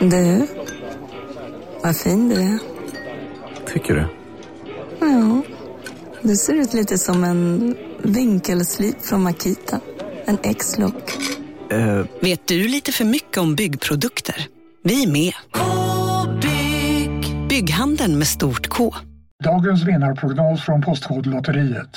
Du, vad fin du är. Tycker du? Ja, du ser ut lite som en vinkelslip från Makita. En X-look. Eh, Vet du lite för mycket om byggprodukter? Vi är med. -bygg. Bygghandeln med stort K. Dagens vinnarprognos från Postkodlotteriet.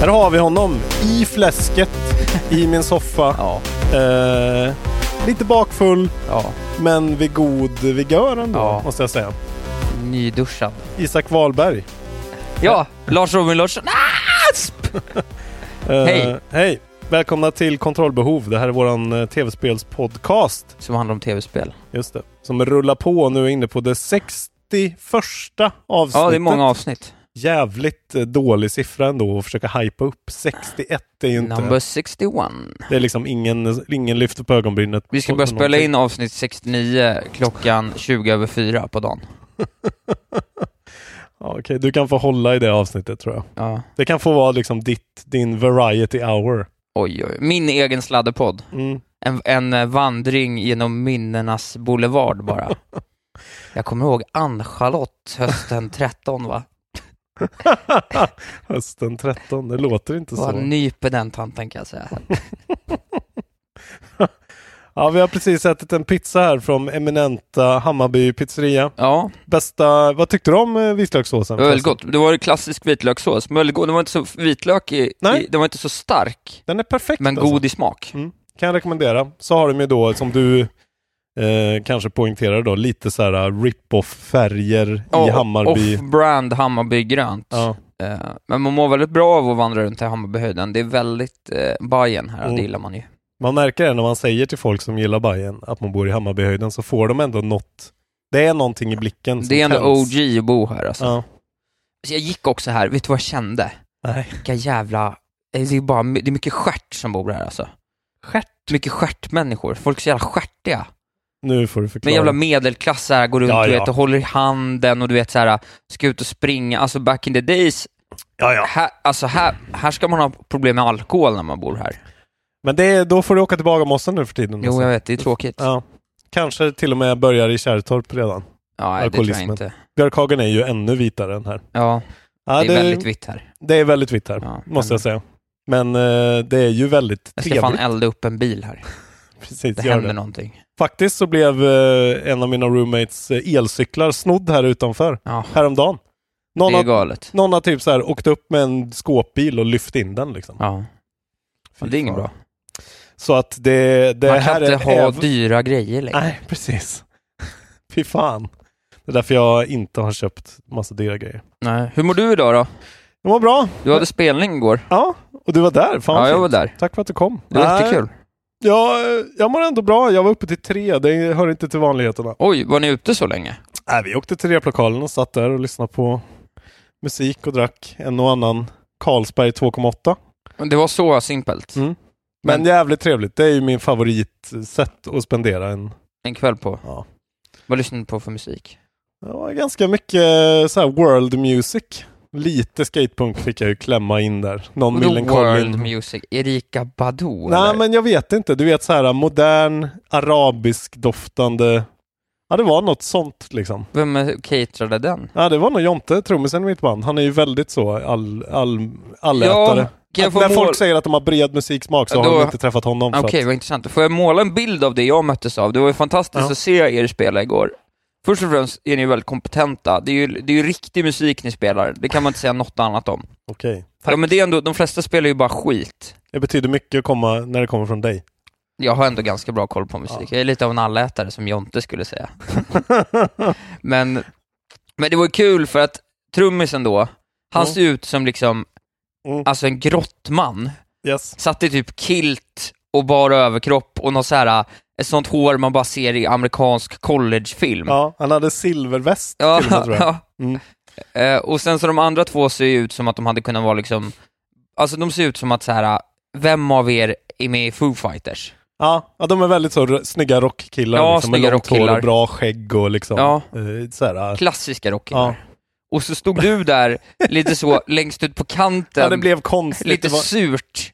Här har vi honom i fläsket i min soffa. Ja. Eh, lite bakfull, Ja, men vid god vigör ändå, Ja. måste jag säga. nyduschad. Isak Wahlberg. Ja, Lars Robin Larsson. Eh, Hej. Hej! Välkomna till Kontrollbehov. Det här är våran eh, tv-spelspodcast. Som handlar om tv-spel. Just det. Som rullar på och nu är inne på det 61 avsnittet. Ja, det är många avsnitt. Jävligt eh, dålig siffra ändå att försöka hypa upp. 61 är ju inte... Number 61. Det är liksom ingen, ingen lyfter på ögonbrynet. Vi ska på- börja på spela någonting. in avsnitt 69 klockan 20 över 4 på dagen. Ja, Okej, du kan få hålla i det avsnittet tror jag. Ja. Det kan få vara liksom ditt, din variety hour. Oj, oj. Min egen sladderpodd. Mm. En, en eh, vandring genom minnenas boulevard bara. Jag kommer ihåg Ann-Charlotte hösten 13 va? Hösten 13, det låter inte Vad så. nyper den tanten kan jag säga. Ja, vi har precis ätit en pizza här från eminenta Hammarby pizzeria. Ja, Bästa, vad tyckte du om eh, vitlökssåsen? det var väldigt gott. Det var ju klassisk vitlökssås. Men väldigt god. Den var inte så vitlök i, Nej. i, den var inte så stark, Den är perfekt men alltså. god i smak. Kan jag rekommendera. Så har de ju då, som du eh, kanske poängterar då, lite så här rip-off färger i Ja, Hammarby. Off-brand Hammarby grönt. Ja. Eh, Men man mår väldigt bra av att vandra runt i Hammarbyhöjden. Det är väldigt eh, Bajen här, Mm. det gillar man ju. Man märker det när man säger till folk som gillar Bajen att man bor i Hammarbyhöjden så får de ändå något. Det är någonting i blicken som Det är ändå tänds. OG att bo här alltså. Ja. Så jag gick också här, vet du vad jag kände? Nej. Vilka jävla... eh, Det är, bara, det är mycket stjärt som bor här alltså. Stjärt? Mycket stjärtmänniskor. Folk är så jävla stjärtiga. Nu får du Men förklara. jävla medelklass här, går runt Ja, du ja. vet, och håller i handen och du vet så här, ska ut och springa. Alltså back in the days, ja, ja. här, alltså här, här ska man ha problem med alkohol när man bor här. Men det är, då får du åka till Bagarmossen nu för tiden. Jo, alltså. jag vet, det är tråkigt. ja. Kanske till och med börjar i Kärrtorp redan. Ja, nej, det tror jag Alkoholismen. inte. Björkhagen är ju ännu vitare än här. Ja, Ja, det är väldigt vitt här. det är väldigt vitt här, Ja, måste men- jag säga. Men eh, det är ju väldigt Jag ska fan trevligt. elda upp en bil här. Precis, Det gör händer det. någonting. Faktiskt så blev eh, en av mina roommates eh, elcyklar snodd här utanför Ja, häromdagen. Någon det är har, galet. någon har typ så här åkt upp med en skåpbil och lyft in den liksom. Ja, Fy men det är inget fan. bra. Så att det, det Man här kan inte är ha äv- dyra grejer längre. Nej, precis. Fy fan. Det är därför jag inte har köpt massa dyra grejer. Nej. Hur mår du idag då? Det var bra. Du hade spelning igår. Ja, och du var där. Fan Ja, jag fint. var där. Tack för att du kom. Det var Nej, jättekul. Ja, jag mår ändå bra. Jag var uppe till tre. Det hör inte till vanligheterna. Oj, var ni ute så länge? Nej, vi åkte till replokalen och satt där och lyssnade på musik och drack en och annan Carlsberg 2,8. Det var så simpelt. Mm. Men jävligt trevligt. Det är ju min favoritsätt att spendera en... En kväll på. Ja. Vad lyssnade du på för musik? Det var ganska mycket eh, så här world music. Lite skatepunk fick jag ju klämma in där. Någon Vadå Millencolin. World Music? Erika Badu? Nej, eller? men jag vet inte. Du vet så här modern, arabisk doftande. Ja, det var något sånt liksom. Vem eh, caterade den? Ja, det var nog Jonte, trummisen i mitt band. Han är ju väldigt så all, all, allätare. Ja, kan jag Att få när mål- folk säger att de har bred musiksmak så Ja, har då- de inte träffat honom. för Okej, att, vad intressant. Får jag måla en bild av det jag möttes av? Det var ju fantastiskt Ja. att se er spela igår. Först och främst är ni ju väldigt kompetenta. Det är ju, det är ju riktig musik ni spelar. Det kan man inte säga något annat om. Okej. Ja, men det är ändå, de flesta spelar ju bara skit. Det betyder mycket att komma när det kommer från dig. Jag har ändå ganska bra koll på musik. Jag är lite av en allätare som Jonte skulle säga. men, men det var ju kul för att trummisen då, han Mm. ser ut som liksom, Mm. alltså en grottman. Yes. Satt i typ kilt och bara överkropp och någon så här, eh, ett sånt hår man bara ser i amerikansk collegefilm. Ja, han hade silverväst Mm. Ja, till och med, tror jag. ja. Mm. Eh, och sen så de andra två ser ju ut som att de hade kunnat vara liksom, alltså de ser ut som att så här, vem av er är med i Foo Fighters? Ja, ja, de är väldigt så r- snygga rockkillar. Ja, liksom, med snygga långt hår rockkillar. och bra skägg och liksom... Ja. Eh, så här, Klassiska rockkillar. ja. Och så stod du där, lite så längst ut på kanten, ja, det blev konstigt. lite Det var surt.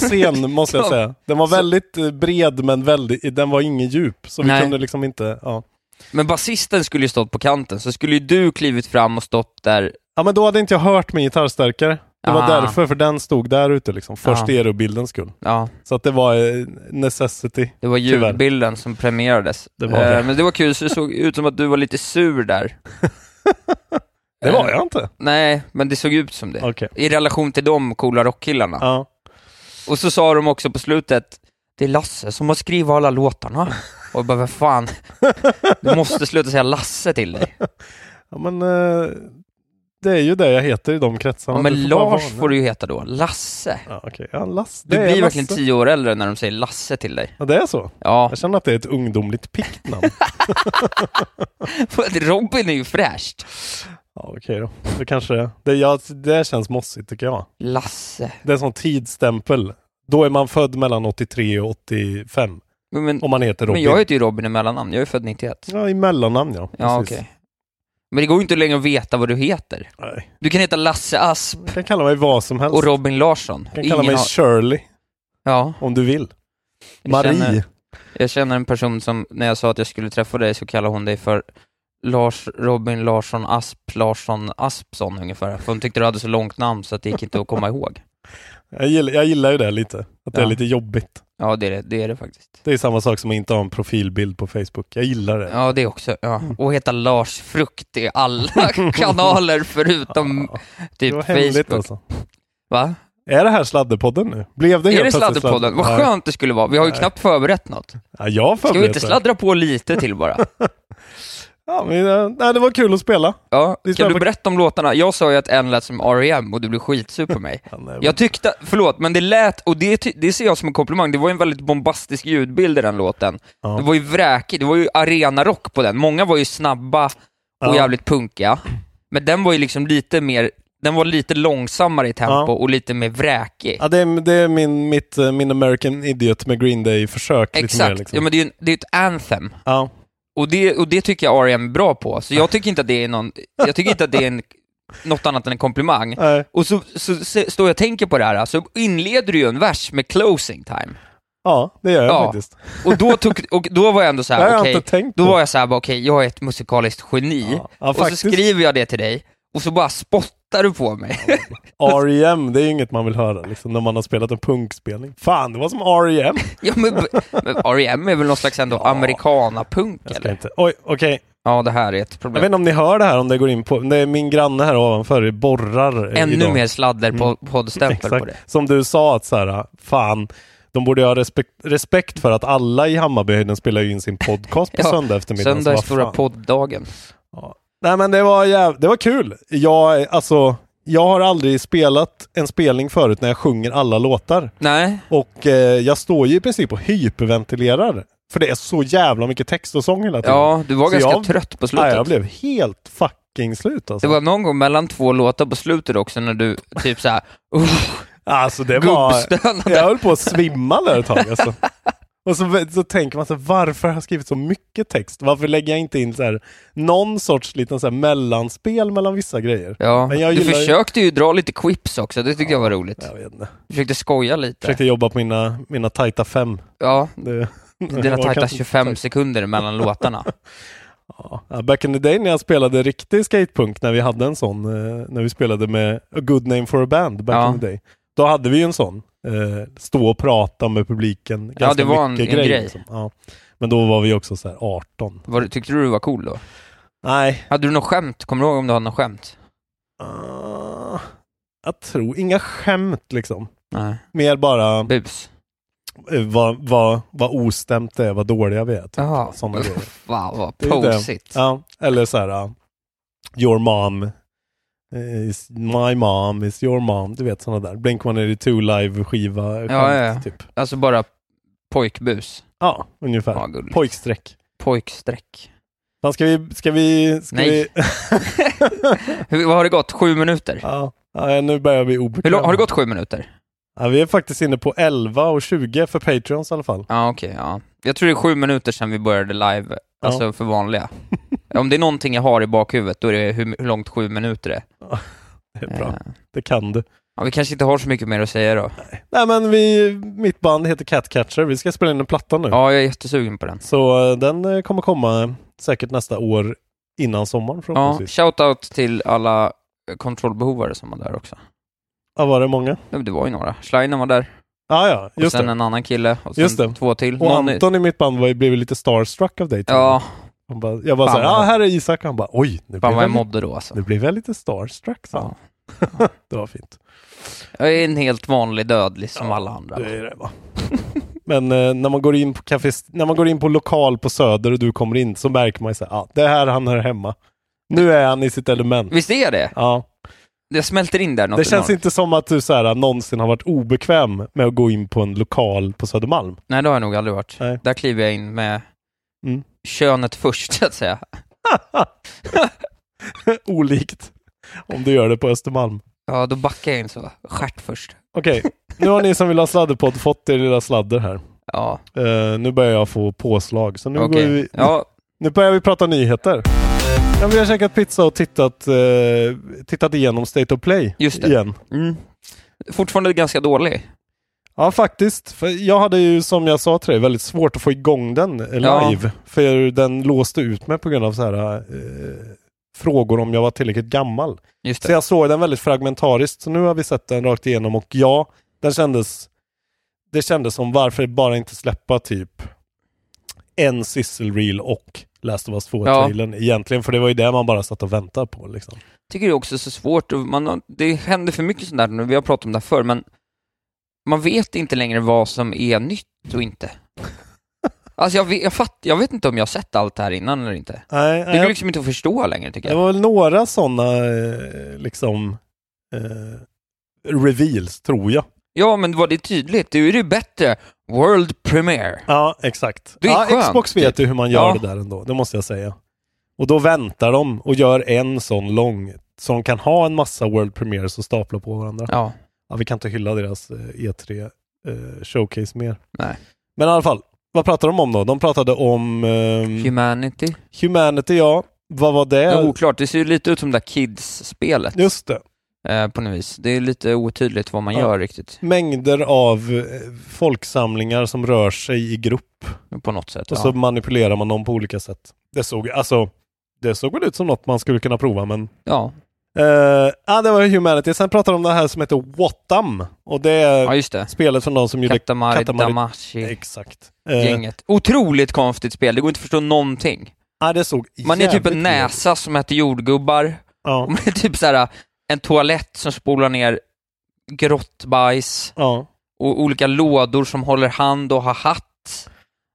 scen, måste jag Ja. säga. Den var Så- väldigt eh, bred, men väldigt, den var ingen djup. Så vi Nej. kunde liksom inte... Ja. Men basisten skulle ju stått på kanten, så skulle ju du klivit fram och stått där. ja, men då hade inte jag hört min gitarrstärkare. Det var Ah. därför, för den stod där ute liksom. Först Ah. i bildens skull. Ja, Så att det var eh, necessity. det var Tyvärr. ljudbilden som premierades. Det var det. Eh, Men det var kul, så det såg ut som att du var lite sur där. Det var Eh, jag inte. Nej, men det såg ut som det. Okej. I relation till de coola rockkillarna. Ja. Och så sa de också på slutet, det är Lasse som har skrivit alla låtarna. Och jag bara, vad fan, du måste sluta säga Lasse till dig. ja, men eh, det är ju det jag heter i de kretsarna. Ja, men Du får bara Lars vara- får du ju heta då, Lasse. Ja, okej. Ja, Lass, Du det är blir Lasse. verkligen tio år äldre när de säger Lasse till dig. Ja, det är så. Ja, Jag känner att det är ett ungdomligt pickt namn. för att Robin är ju fräscht. ja, okej då. Det kanske det, ja, det känns mossigt tycker jag. Lasse. Det är en sån tidsstämpel. Då är man född mellan 83 och 85. Men, men, Om man heter Robin. men jag heter ju Robin i mellannamn, jag är född 91. Ja, i mellannamn ja. Ja, Precis. okej. Men det går ju inte längre att veta vad du heter. Nej. Du kan heta Lasse Asp Du kan kalla mig vad som helst. och Robin Larsson. du kan kalla mig har- Shirley Ja, om du vill. jag Marie. Känner, jag känner en person som, när jag sa att jag skulle träffa dig så kallade hon dig för Lars Robin Larsson Asp Larsson Aspsson ungefär. För hon tyckte du hade så långt namn så att det gick inte att komma ihåg. Jag, gillar, jag gillar ju det lite. Att det är Ja. lite jobbigt. Ja, det är det, det, är det faktiskt. Det är samma sak som att inte ha en profilbild på Facebook. Jag gillar det. Ja, det också. Ja. Mm. Och heta Lars Frukt i alla kanaler förutom Ja. typ det var hemligt Facebook. alltså. Va? Är det här sladderpodden nu? Blev det Är helt det plötsligt sladderpodden? Vad Nej. skönt det skulle vara. Vi har ju Nej. knappt förberett något. Ja, jag har Ska vi förberett inte det. sladdra på lite till bara? Ja, men, eh, nej, det var kul att spela. Ja. Vi Kan sladdrar du på- berätta om låtarna? Jag sa ju att en lät som R.E.M. och du blev skitsur på mig. Ja, nej, Jag tyckte, förlåt, men det lät, och det, ty- det ser jag som en komplimang, det var en väldigt bombastisk ljudbild i den låten. Ja. Det var ju vräkigt, det var ju arenarock på den. Många var ju snabba och Ja. jävligt punkiga. Men den var ju liksom lite mer, den var lite långsammare i tempo Ja. och lite mer vräkig. ja, det, är, det är min, mitt, eh, min American Idiot med Green Day-försök. lite Exakt, mer, liksom. ja men det är ju en- det är ett anthem. Ja. Och det, och det tycker jag R.E.M. är bra på, så jag tycker inte att det är någon, jag tycker inte att det är en, något annat än en komplimang. Nej. Och så, så, så står jag och tänker på det här, så inleder du ju en vers med closing time. ja, det gör jag Ja. faktiskt. Och då, tog, och då var jag ändå så det har här, jag okej, inte tänkt då på. var jag så här, bara, okej, jag är ett musikaliskt geni, Ja. Ja, och faktiskt. så skriver jag det till dig, och så bara spottar du på mig. R.E.M. E det är ju inget man vill höra liksom, när man har spelat en punkspelning. Fan, det var som E R.E.M. ja, men, men R.E.M. är väl någon slags ändå Ja. amerikanapunk Jag ska eller? inte. Oj, okej. Ja, det här är ett Jag vet problem. inte om ni hör det här, om det går in på... Det är min granne här ovanför borrar eh, Ännu idag. Mm. mer sladder på poddstämpel Exakt. på det. Som du sa, att så här, fan, de borde ju ha respekt, respekt för att alla i Hammarbyhöjden spelar ju in sin podcast på Ja, söndag eftermiddag. Söndag Så är vad stora fan. podd-dagen. Nej men det var, jäv... det var kul. Jag, alltså, jag har aldrig spelat en spelning förut när jag sjunger alla låtar. Nej, Och eh, jag står ju i princip och hyperventilerar. För det är så jävla mycket text och sång hela tiden. ja, du var Så ganska jag- trött på Nej, slutet. jag blev helt fucking slut Det alltså. var någon gång mellan två låtar på slutet också när du typ såhär, uff, Alltså det var... gubbstönade. Jag höll på att svimma där ett tag alltså. Och så, så tänker man så här, varför har jag skrivit så mycket text? Varför lägger jag inte in så här, någon sorts liten så här, mellanspel mellan vissa grejer? Ja, Men jag du gillar ju- försökte ju dra lite quips också, det tyckte jag var roligt. Jag vet inte. Du försökte skoja lite. Försökte jobba på mina, mina tajta fem. Ja, Det, dina jag tajta kanske- 25 sekunder mellan låtarna. Ja, back in the day när jag spelade riktig skatepunk, när vi hade en sån, eh, när vi spelade med A Good Name for a Band, back Ja. in the day. Då hade vi ju en sån, eh, stå och prata med publiken, ganska det var en- mycket en grej. Liksom. Ja. Men då var vi också så här 18. Var, du- tyckte du du var cool då? Nej. Hade du något skämt? Kommer du ihåg om du hade något skämt? Ah, jag tror, inga skämt liksom. Nej. Mer bara Bus? eh, vad, vad, vad ostämt det är, vad dåliga vi är. Typ. Jaha. Sådana grejer. Wow, vad Det är ju det. posigt. Ja, eller så här, ah, your mom uh, is my mom is your mom. Du vet sådana där. Blink-182 live-skiva Ja, ja, ja. typ. Alltså bara pojkbus. Ja, ungefär. Ja, gulligt. Pojkstreck. Pojkstreck. Fan, ska vi... Ska vi ska Nej. Vi... Hur, vad har det gått? Sju minuter? ja, ja, nu börjar vi Hur obekväm. lång, har det gått sju minuter? Ja, vi är faktiskt inne på 11 och 20 för Patreons i alla fall. Ja, okej. ja. Jag tror det är sju minuter sedan vi började live, alltså för vanliga. Om det är någonting jag har i bakhuvudet, då är det hur, hur långt sju minuter är. Det är bra. Eh, Det kan du. Ja, vi kanske inte har så mycket mer att säga då. Nej, men vi... Mitt band heter Catcatcher. Vi ska spela in en platta nu. Ja, jag är jättesugen på den. Så eh, den eh, kommer komma säkert nästa år innan sommaren Ja, förhoppningsvis. shoutout till alla kontrollbehovare som var där också. Ja, var det många? Ja, men Det var ju några. Schleiner var där, Ja, ja, och just sen det. en annan kille, och sen Just det. två till. Och Någon- Anton i mitt band var, ju- blev ju lite starstruck av dig. tror jag. Ja, Han bara, jag bara Fan, såhär, ja vad- ah, här är Isak. Han bara, oj, nu fan blev vad jag jag, mådde då alltså. nu blev jag lite starstruck. sa han. det var fint. Jag är en helt vanlig dödlig som alla andra. Det är det va. Men eh, när, man går in på café, när man går in på lokal på Söder och du kommer in så märker man ju såhär, ah, det är här han hör hemma. Nu är han i sitt element. Visst är jag det? Ja. Jag smälter in där något Det känns enormt. inte som att du så här, äh, någonsin har varit obekväm med att gå in på en lokal på Södermalm. Nej, det har jag nog aldrig varit. Nej. Där kliver jag in med Mm. könet först, så att säga. Olikt om du gör det på Östermalm. Ja, då backar jag in så. Stjärt först. Okej, nu har ni som vill ha sladderpodd fått er lilla sladder här. Ja, Eh, nu börjar jag få påslag, så nu, okej. går vi, Ja, nu börjar vi prata nyheter. Ja, vi har käkat pizza och tittat, eh, tittat igenom State of Play Just det. igen. mm. Fortfarande ganska dålig. Ja, faktiskt. För jag hade ju, som jag sa till dig, väldigt svårt att få igång den eh, Ja. live. För den låste ut mig på grund av så här, eh, frågor om jag var tillräckligt gammal. Just Så det. jag såg den väldigt fragmentariskt, så nu har vi sett den rakt igenom och ja, den kändes... Det kändes som varför bara inte släppa typ en sizzle reel och Last of us 2-trailern egentligen, för det var ju det man bara satt och väntade på. Liksom. tycker det är också så svårt. och Man har, det händer för mycket sånt där nu. Vi har pratat om det här förr, men man vet inte längre vad som är nytt och inte. Alltså jag vet, jag, fatt, jag vet inte om jag har sett allt det här innan eller inte. Nej, Det nej, går jag- liksom inte att förstå längre tycker Det jag. var väl några sådana eh, liksom eh, reveals, tror jag. Ja, men var det tydligt? Det är ju det bättre. World premiere. Ja, exakt. Det är ja, skönt, Xbox typ. vet ju hur man gör Ja. det där ändå, det måste jag säga. Och då väntar de och gör en sån lång, så de kan ha en massa World Premiers och stapla på varandra. Ja. Ja, vi kan inte hylla deras eh, E3 eh, showcase mer. Nej. Men i alla fall, vad pratar de om då? De pratade om eh, Humanity. Humanity, ja. Vad var det? Det är oklart. Det ser ju lite ut som det där Kids-spelet Just det. eh, på något vis. Det är lite otydligt vad man Ja. gör riktigt Mängder av eh, folksamlingar som rör sig i grupp. på något sätt. Och ja. så manipulerar man dem på olika sätt. Det såg, alltså, det såg väl ut som något man skulle kunna prova, men Ja. Eh, ah, det var Humanity. Sen pratade de om det här som heter Wattam. Och det är ja, just det. spelet från de som gjorde... Katamari, Katamari- Damashi, Exakt. Eh, gänget. Otroligt konstigt spel. Det går inte att förstå någonting. ah, det såg Man är typ jävligt en näsa som äter jordgubbar. Ja, Man är typ så här en toalett som spolar ner grått bajs ja. och olika lådor som håller hand och har hatt.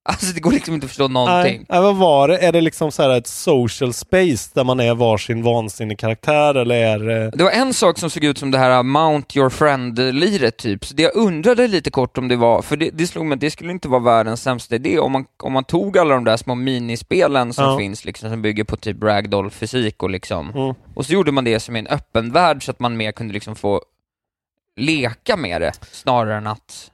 Alltså det går liksom inte att förstå någonting. Nej, nej, vad var det? Är det liksom så här ett social space där man är varsin vansinnig karaktär eller är det... Det var en sak som såg ut som det här uh, Mount Your Friend-liret typ, så det jag undrade lite kort om det var, för det, det slog mig att det skulle inte vara världens sämsta idé om man, om man tog alla de där små minispelen som Ja. finns liksom, som bygger på typ ragdoll-fysik och liksom, Mm. och så gjorde man det som i en öppen värld så att man mer kunde liksom få leka med det, snarare än att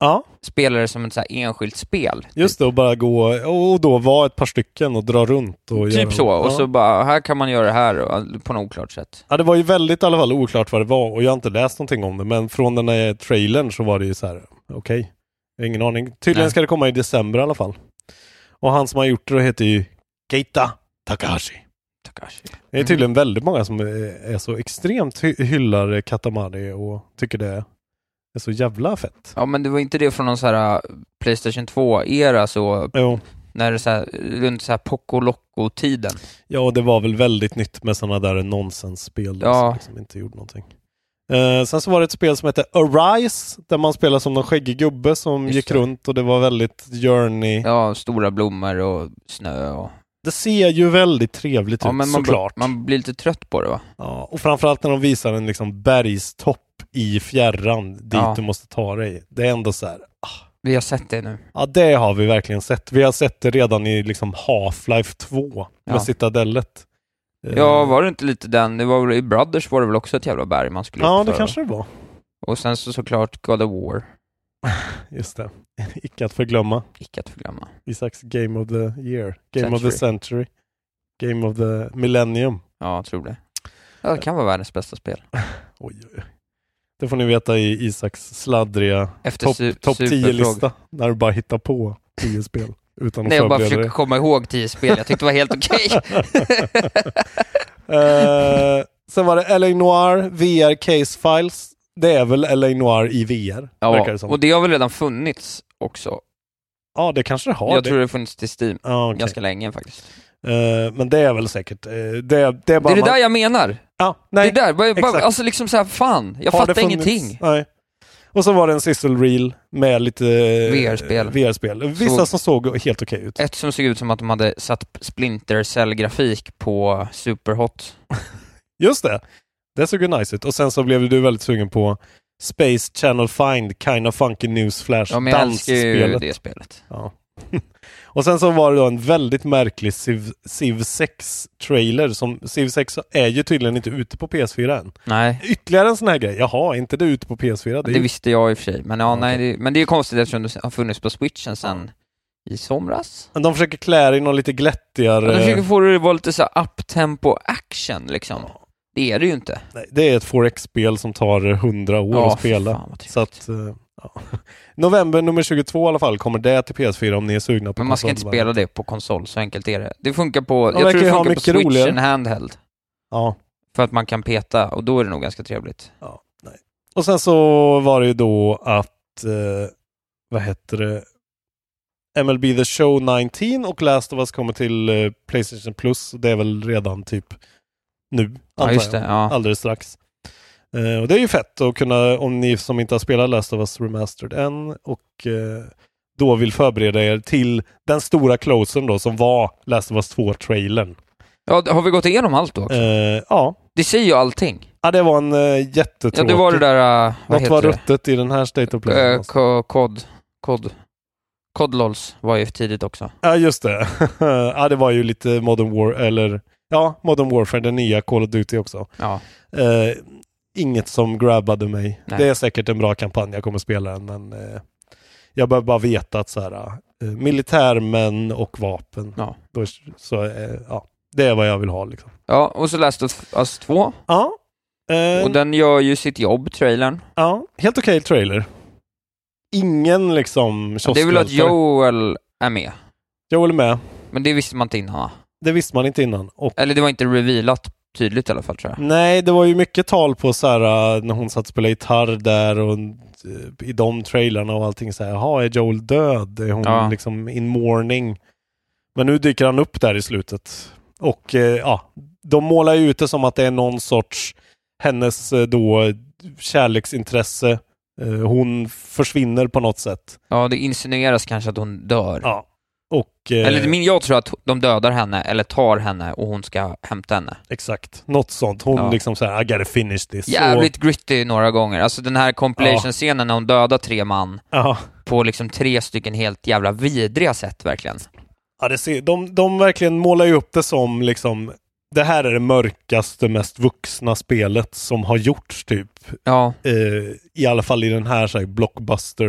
Ja, spela det som ett så här enskilt spel. just det. Och bara gå och då vara ett par stycken och dra runt och göra... Typ så, och ja. så bara, här kan man göra det här och, på något oklart sätt. Ja, det var ju väldigt i alla fall oklart vad det var och jag har inte läst någonting om det, men från den här trailern så var det ju så här, okej, jag har ingen aning. Tydligen Nej. ska det komma i december i alla fall. Och han som har gjort det heter ju Keita Takahashi. Takashi. Det är tydligen väldigt många som eh, är så extremt hy- hyllar Katamari och tycker det är så jävla fett. Ja men det var inte det från någon uh, så här eh, Playstation 2-era så Jo, när det så här, runt så här Poco Loco-tiden. Ja, och det var väl väldigt nytt med sådana där nonsensspel då, Ja. som liksom inte gjorde någonting. Eh, sen så var det ett spel som hette Arise, där man spelade som någon skäggig gubbe som Just gick det. runt och det var väldigt journey. Ja, stora blommor och snö och... Det ser ju väldigt trevligt Ja, ut men man, Typ, såklart. man blir lite trött på det va? Ja, och framförallt när de visar en liksom bergstopp i fjärran dit Ja. du måste ta dig. Det är ändå så här, Vi har sett det nu. ja det har vi verkligen sett. Vi har sett det redan i liksom Half-Life 2 med Ja. Citadellet. Eh, Ja, var det inte lite den? Det var, I Brothers var det väl också ett jävla berg man skulle ja upp det för. kanske det var. Och sen så såklart God of War. Just det. Icke att förglömma. Icke att förglömma. Isaks Game of the Year. Game of Century. the Century. Game of the Millennium. Ja, jag tror det. Ja, det kan vara världens bästa spel. Oj, oj, oj. Det får ni veta i Isaks sladdriga Efter topp su- top superfråga. 10-lista. När du bara hittar på 10 spel. Utan att Nej, jag bara förbereda försöker dig. komma ihåg tio spel. Jag tyckte det var helt okej. Eh, sen var det LA Noir, VR Case Files. Det är väl LA Noir i VR, verkar det ja, som. och det har väl redan funnits också. ja, det kanske det har. jag det. tror det har funnits till Steam Ja, okej. ganska länge faktiskt. Eh, men det är väl säkert. eh, det, det är Det bara är det man- där jag menar. Ja, nej. det är där, bara, bara, exakt. alltså liksom såhär, fan, jag Har det fattar funnits? ingenting. Nej. Och så var det en sizzle reel med lite eh, VR-spel. VR-spel. Vissa Så- som såg helt okej ut. Ett som såg ut som att de hade satt Splinter Cell-grafik på Superhot. Just det. Det såg ju nice ut. Och sen så blev du väldigt sugen på Space Channel Find, Kinda Funky News Flash, Ja, men jag älskar ju dansspelet. det spelet. Ja. och sen så var det då en väldigt märklig Civ, Civ 6-trailer. Som, Civ 6 är ju tydligen inte ute på PS4 än. Nej, Ytterligare en sån här grej. Jaha, är inte det ute på PS4? det, Det är ju visste jag i och för sig. Men, ja, Ja, nej, okej. det, men det är konstigt eftersom det har funnits på switchen sen i somras. Men De försöker klä det i någon lite glättigare... Jag försöker få det att vara lite så här uptempo action liksom. Det är det ju inte. Nej, det är ett 4X-spel som tar 100 år Ja, att spela. fan, vad trevligt. så att, eh, ja. November nummer 22 i alla fall kommer det till PS4 om ni är sugna på Men man ska inte konsolvariant. spela det på konsol, så enkelt är det. Det funkar på, verkar jag tror ju det ha funkar på mycket switchen roligare. handheld. Ja. För att man kan peta, och då är det nog ganska trevligt. Och sen så var det ju då att, eh, vad heter det, MLB The Show 19 och Last of Us kommer till eh, Playstation Plus. Det är väl redan typ nu, Ja, antar just det. jag. Ja. alldeles strax. Eh, och det är ju fett att kunna, om ni som inte har spelat Last of Us Remastered än och eh, då vill förbereda er till den stora closen då som var Last of Us 2-trailern. ja, har vi gått igenom allt då? också? Eh, ja. Det säger ju allting. ja, det var en eh, jättetråkig... Ja, det var det där, eh, vad Något var heter ruttet i den här State of Play. Alltså. det? Eh, ko- Kod. Kod. Kodlols var ju tidigt också. Ja, just det. ja, det var ju lite Modern War, eller ja, Modern Warfare, den nya Call of Duty också. Ja. Eh, inget som grabbade mig. Nej. Det är säkert en bra kampanj, jag kommer spela den, men eh, jag behöver bara veta att så här, eh, militärmän och vapen, Ja. då, så, eh, ja, det är vad jag vill ha liksom. ja, och så Last of Us 2. Ja, eh, Och den gör ju sitt jobb, trailern. ja helt okej trailer. Ingen liksom Det är väl att kioskvältare. Joel är med. Joel är med. Men det visste man inte innan. va? Det visste man inte innan. Och Eller det var inte revealat tydligt i alla fall tror jag. Nej, det var ju mycket tal på så här äh, när hon satt och spelade gitarr där och eh, i de trailarna och allting så här, jaha, är Joel död? Är hon Ja. liksom in mourning? Men nu dyker han upp där i slutet. Och eh, ja, de målar ju ut det som att det är någon sorts hennes eh, då kärleksintresse. Eh, Hon försvinner på något sätt. Ja, det insinueras kanske att hon dör. Ja. Och, eh, Eller min, jag tror att de dödar henne, eller tar henne, och hon ska hämta henne. Exakt, något sånt. Hon Ja. liksom så här, I gotta finish this. Jävligt gritty några gånger. Alltså den här compilation-scenen när hon dödar tre man Och, ja. på liksom tre stycken helt jävla vidriga sätt verkligen. Ja, det ser, de, de verkligen målar ju upp det som liksom det här är det mörkaste, mest vuxna spelet som har gjorts typ. Ja, Eh, I alla fall i den här, så här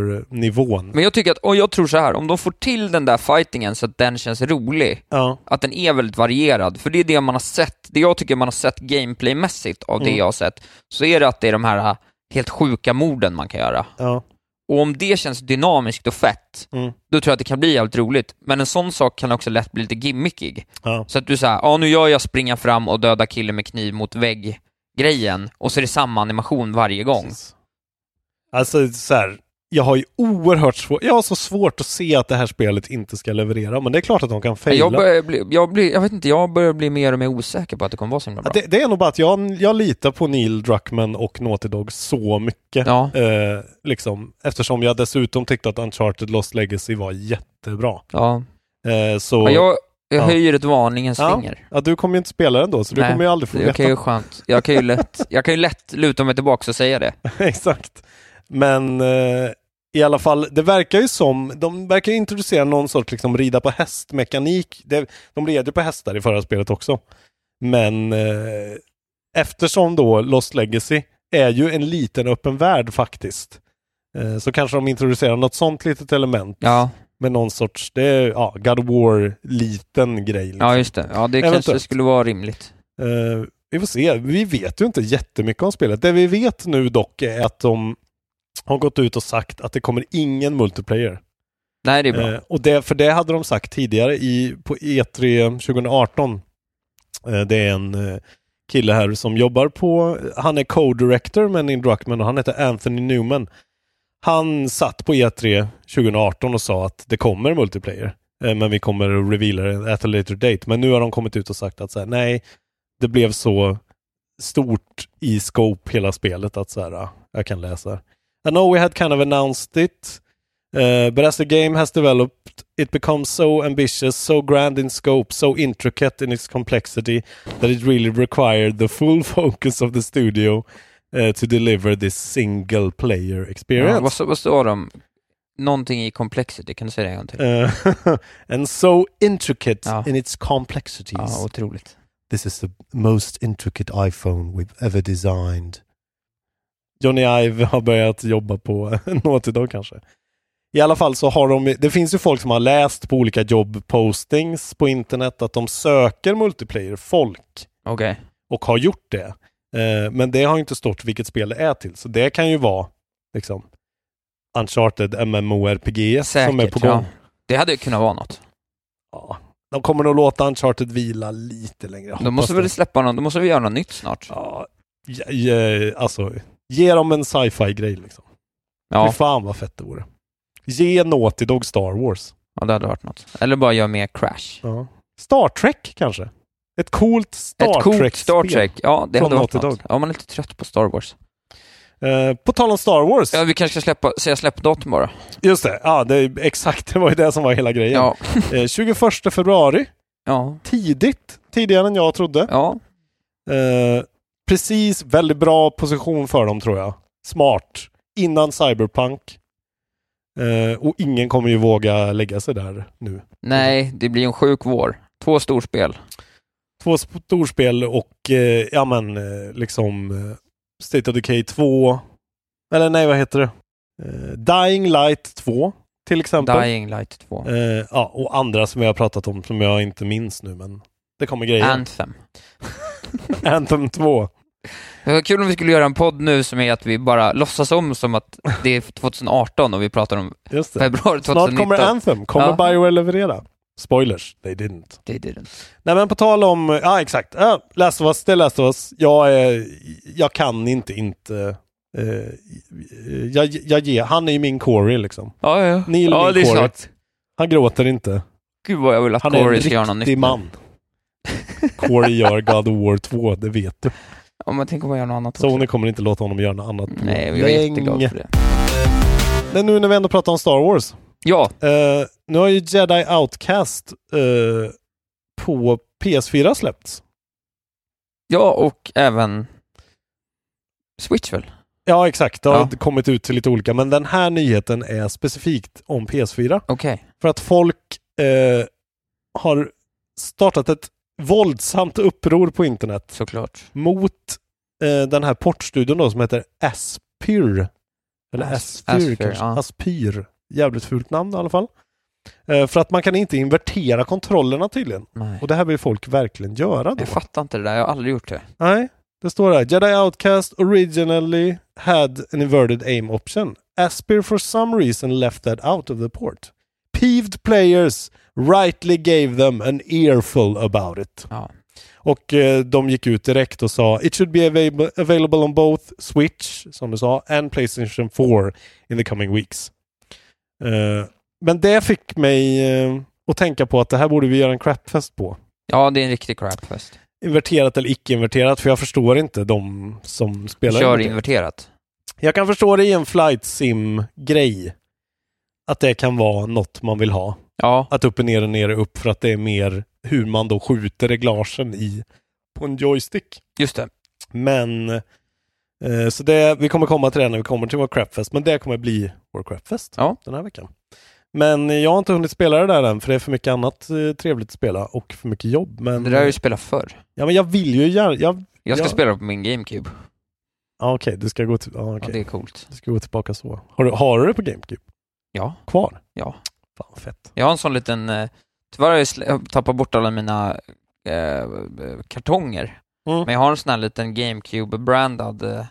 blockbuster-nivån. men jag tycker att, och jag tror så här, om de får till den där fightingen så att den känns rolig, Ja, att den är väldigt varierad, för det är det man har sett, det jag tycker man har sett gameplaymässigt av det Mm. jag har sett, så är det att det är de här äh, helt sjuka morden man kan göra. ja. Och om det känns dynamiskt och fett, Mm. då tror jag att det kan bli jävligt roligt. Men en sån sak kan också lätt bli lite gimmickig. Ja. Så att du säger, ja nu gör jag springa fram och döda killen med kniv mot vägg grejen och så är det samma animation varje gång. Precis. Alltså så här, jag har ju oerhört svårt, jag har så svårt att se att det här spelet inte ska leverera, men det är klart att de kan faila. Jag börjar bli, jag blir, jag vet inte, jag börjar bli mer och mer osäker på att det kommer vara så himla bra. Ja, Det, det är nog bara att jag, jag litar på Neil Druckmann och Naughty Dog så mycket. Ja. Eh, liksom, eftersom jag dessutom tyckte att Uncharted Lost Legacy var jättebra. Ja. Eh, så, Ja, jag jag Ja. höjer ett varningens Ja. finger. ja, du kommer ju inte spela den då, så du Nej, kommer ju aldrig få Det veta. kan ju skönt. Jag kan ju lätt, jag kan ju lätt luta mig tillbaka och säga det. Exakt. Men eh, i alla fall, det verkar ju som, de verkar ju introducera någon sorts liksom rida på hästmekanik. Det, de red ju på hästar i förra spelet också. Men eh, eftersom då Lost Legacy är ju en liten öppen värld faktiskt. eh, Så kanske de introducerar något sånt litet element Ja, med någon sorts, det är, ja, God of War-liten grej. Liksom. ja just det. Ja, det kanske Eventuellt. skulle vara rimligt. Eh, vi får se. Vi vet ju inte jättemycket om spelet. Det vi vet nu dock är att de har gått ut och sagt att det kommer ingen multiplayer. Nej, det är bra. Eh, och det, för det hade de sagt tidigare i, på E3 2018. Eh, det är en eh, kille här som jobbar på, han är co-director med Neil Druckmann och han heter Anthony Newman. Han satt på E3 2018 och sa att det kommer multiplayer. eh, Men vi kommer att reveala det at a later date. Men nu har de kommit ut och sagt att så här, nej, det blev så stort i scope hela spelet att så här, ah, jag kan läsa. I know we had kind of announced it. Uh, but as the game has developed, it becomes so ambitious, so grand in scope, so intricate in its complexity that it really required the full focus of the studio uh, to deliver this single player Ja, experience. vad, vad står det om? Någonting i complexity, kan du säga det en gång till? Uh, and so intricate Ja. in its complexities. Ja, otroligt. This is the most intricate iPhone we've ever designed. Johnny Ive har börjat jobba på Naughty Dog kanske. I alla fall så har de, det finns ju folk som har läst på olika jobbpostings på internet att de söker multiplayer-folk Okej. och har gjort det. Eh, men det har ju inte stått vilket spel det är till, så det kan ju vara liksom Uncharted MMORPG som är Säkert, på gång. ja. Det hade ju kunnat vara något. Ja. De kommer nog låta Uncharted vila lite längre. Jag De hoppas måste det. väl släppa någon, de måste väl göra något nytt snart? Ja, ja, ja, alltså, ge dem en sci-fi-grej liksom. Fy Ja, fan vad fett det vore. Ge Naughty Dog Star Wars. ja, det hade varit något. Eller bara göra mer Crash. Star Trek kanske? Ett coolt Star Ett coolt Trek-spel. Star Trek. Ja, det Från hade varit Naughty något. Ja, man är lite trött på Star Wars. Eh, på tal om Star Wars. Ja, vi kanske ska släppa, säga släppdatum bara. Just det, ja, det är, exakt. Det var ju det som var hela grejen. Ja. Eh, 21 februari. Ja. Tidigt. Tidigare än jag trodde. Ja. Eh, precis, väldigt bra position för dem tror jag. Smart. Innan Cyberpunk. Eh, och ingen kommer ju våga lägga sig där nu. Nej, det blir en sjuk vår. Två storspel. Två sp- storspel och eh, ja men eh, liksom eh, State of Decay 2. Eller nej, vad heter det? Eh, Dying Light 2 till exempel. Dying Light 2. Eh, ja, och andra som jag har pratat om som jag inte minns nu men det kommer grejer. Anthem. Anthem 2. Det var kul om vi skulle göra en podd nu som är att vi bara låtsas om som att det är 2018 och vi pratar om Just det. februari Snart 2019. kommer Anthem. Kommer Ja. Bioware leverera? Spoilers, they didn't. Det är det. Nej men på tal om, ja exakt, ja, Last of Us, det är Last of Us. Jag, är, jag kan inte inte, eh, jag, jag ger, han är ju min Corey liksom. Ja, ja. Neil ja, min det är Corey. snart. Han gråter inte. Gud vad jag vill att Han Corey ska är göra något en nytt. riktig nu. man. Corey gör God of War 2, det vet du. Om man tänker på att göra något annat också. Sony kommer inte låta honom göra något annat. på Nej, jag är jätteglad för det. Men nu när vi ändå pratar om Star Wars. Ja, Eh, nu har ju Jedi Outcast eh, på PS4 släppts. ja och även Switch väl? Ja, exakt. Det har Ja. kommit ut till lite olika. Men den här nyheten är specifikt om PS4. Okej. För att folk eh, har startat ett våldsamt uppror på internet Såklart. mot eh, den här portstudion då som heter Aspyr. Eller As- Aspyr Aspyr, kanske. ja. Aspyr. Jävligt fult namn i alla fall. Eh, för att man kan inte invertera kontrollerna tydligen. Nej. Och det här vill folk verkligen göra då. Jag fattar inte det där, jag har aldrig gjort det. Nej, det står här. Jedi Outcast originally had an inverted aim option. Aspir for some reason left that out of the port. Peeved players rightly gave them an earful about it. Ja. Och eh, de gick ut direkt och sa It should be available- available on both Switch, som du sa, and Playstation 4 in the coming weeks. Eh, men det fick mig eh, att tänka på att det här borde vi göra en crapfest på. Ja, det är en riktig crapfest. Inverterat eller icke-inverterat, för jag förstår inte de som spelar Kör inverterat. inverterat. Jag kan förstå det i en flight sim-grej. Att det kan vara något man vill ha. Ja, Att upp och ner och ner och upp för att det är mer hur man då skjuter reglagen i på en joystick. just det. Men eh, så det, vi kommer komma till det när vi kommer till vår crapfest, men det kommer bli vår crapfest Ja. den här veckan. Men jag har inte hunnit spela det där än, för det är för mycket annat eh, trevligt att spela och för mycket jobb. Men, Det där har jag ju spelat förr. ja, men jag vill ju gärna... Jag, Jag ska Ja. spela på min GameCube. ja, okej, du ska gå till, ja, Ja, okej. det är coolt. Du ska gå tillbaka så. Har du, har du det på GameCube Ja. kvar? Ja. Fan, vad fett. Jag har en sån liten... eh, Tyvärr har jag slä- jag tappat bort alla mina eh, kartonger. Mm. Men jag har en sån här liten GameCube-brandad eh,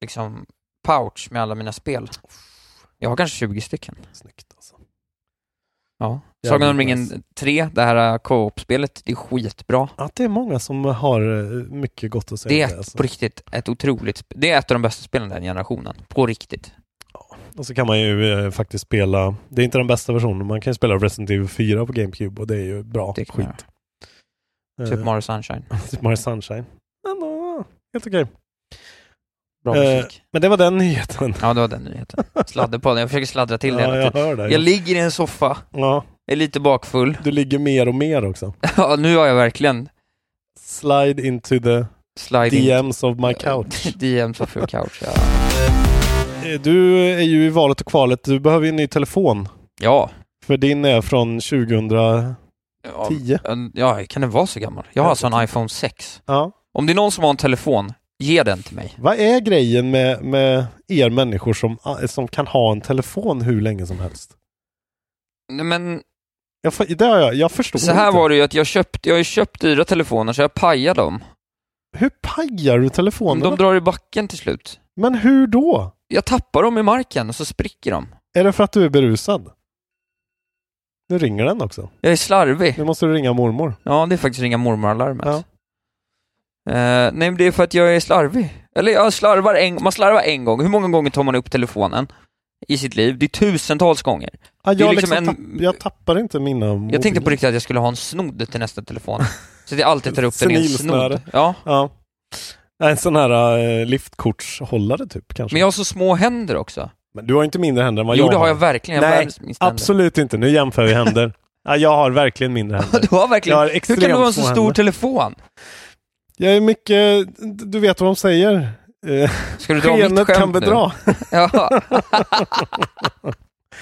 liksom pouch med alla mina spel. Jag har kanske 20 stycken. Snyggt alltså. Ja. Jävligt Sagan om ringen nice. 3, det här eh, co-op-spelet, det är skitbra. Att det är många som har eh, mycket gott att säga alltså. Det om är ett, på riktigt ett otroligt... sp- Det är ett av de bästa spelen den generationen. På riktigt. Och så kan man ju eh, faktiskt spela, det är inte den bästa versionen, man kan ju spela Resident Evil 4 på GameCube och det är ju bra Det kan skit. jag Typ Mario Sunshine. Eh, typ Mario Sunshine. Ändå, helt okej. Bra Eh, musik. Men det var den nyheten. Ja, det var den nyheten. Sladderpodden. Jag försöker sladdra till det ja, hela jag tiden. hör det. Jag ligger i en soffa, ja, är lite bakfull. du ligger mer och mer också. Ja, nu har jag verkligen Slide into the sliding... DMs of my couch. DMs of your couch, ja. Eh, Du är ju i valet och kvalet, du behöver ju en ny telefon. Ja. För din är från 2010. ja. Ja, kan den vara så gammal? Jag har alltså en iPhone 6. Ja. Om det är någon som har en telefon, ge den till mig. Vad är grejen med, med er människor som, ah, som kan ha en telefon hur länge som helst? Nej, Men Jag, fa- det har jag, jag förstår så här inte. var det ju att jag köpte, jag har ju köpt dyra telefoner så jag pajar dem. Hur pajar du Men telefonerna? de drar i backen till slut. Men hur då? Jag tappar dem i marken och så spricker de. Är det för att du är berusad? Nu ringer den också. Jag är slarvig. Nu måste du ringa mormor. Ja, det är faktiskt ringa mormor-alarmet. Ja. Eh, nej, men det är för att jag är slarvig. Eller jag slarvar en, man slarvar en gång. Hur många gånger tar man upp telefonen i sitt liv? Det är tusentals gånger. Ah, Det är jag, liksom liksom en- tapp, jag tappar inte mina mobiler. Jag tänkte på riktigt att jag skulle ha en snodd till nästa telefon. Så att jag alltid tar upp den i en Senilsnöre. snodd. Ja. Ja. Nej, En sån här eh, liftkortshållare typ kanske. Men jag har så små händer också. Men du har inte mindre händer än vad jo, jag det har jag verkligen. Jag har Nej, världens minsta händer. Absolut inte. Nu jämför vi händer. ja, jag har verkligen mindre händer. Du har Jag verkligen... har Hur extremt kan du ha en så små stor händer. telefon? Jag är mycket, du vet vad de säger. Eh, Ska du dra mitt Skenet skämt kan bedra. nu? Ja.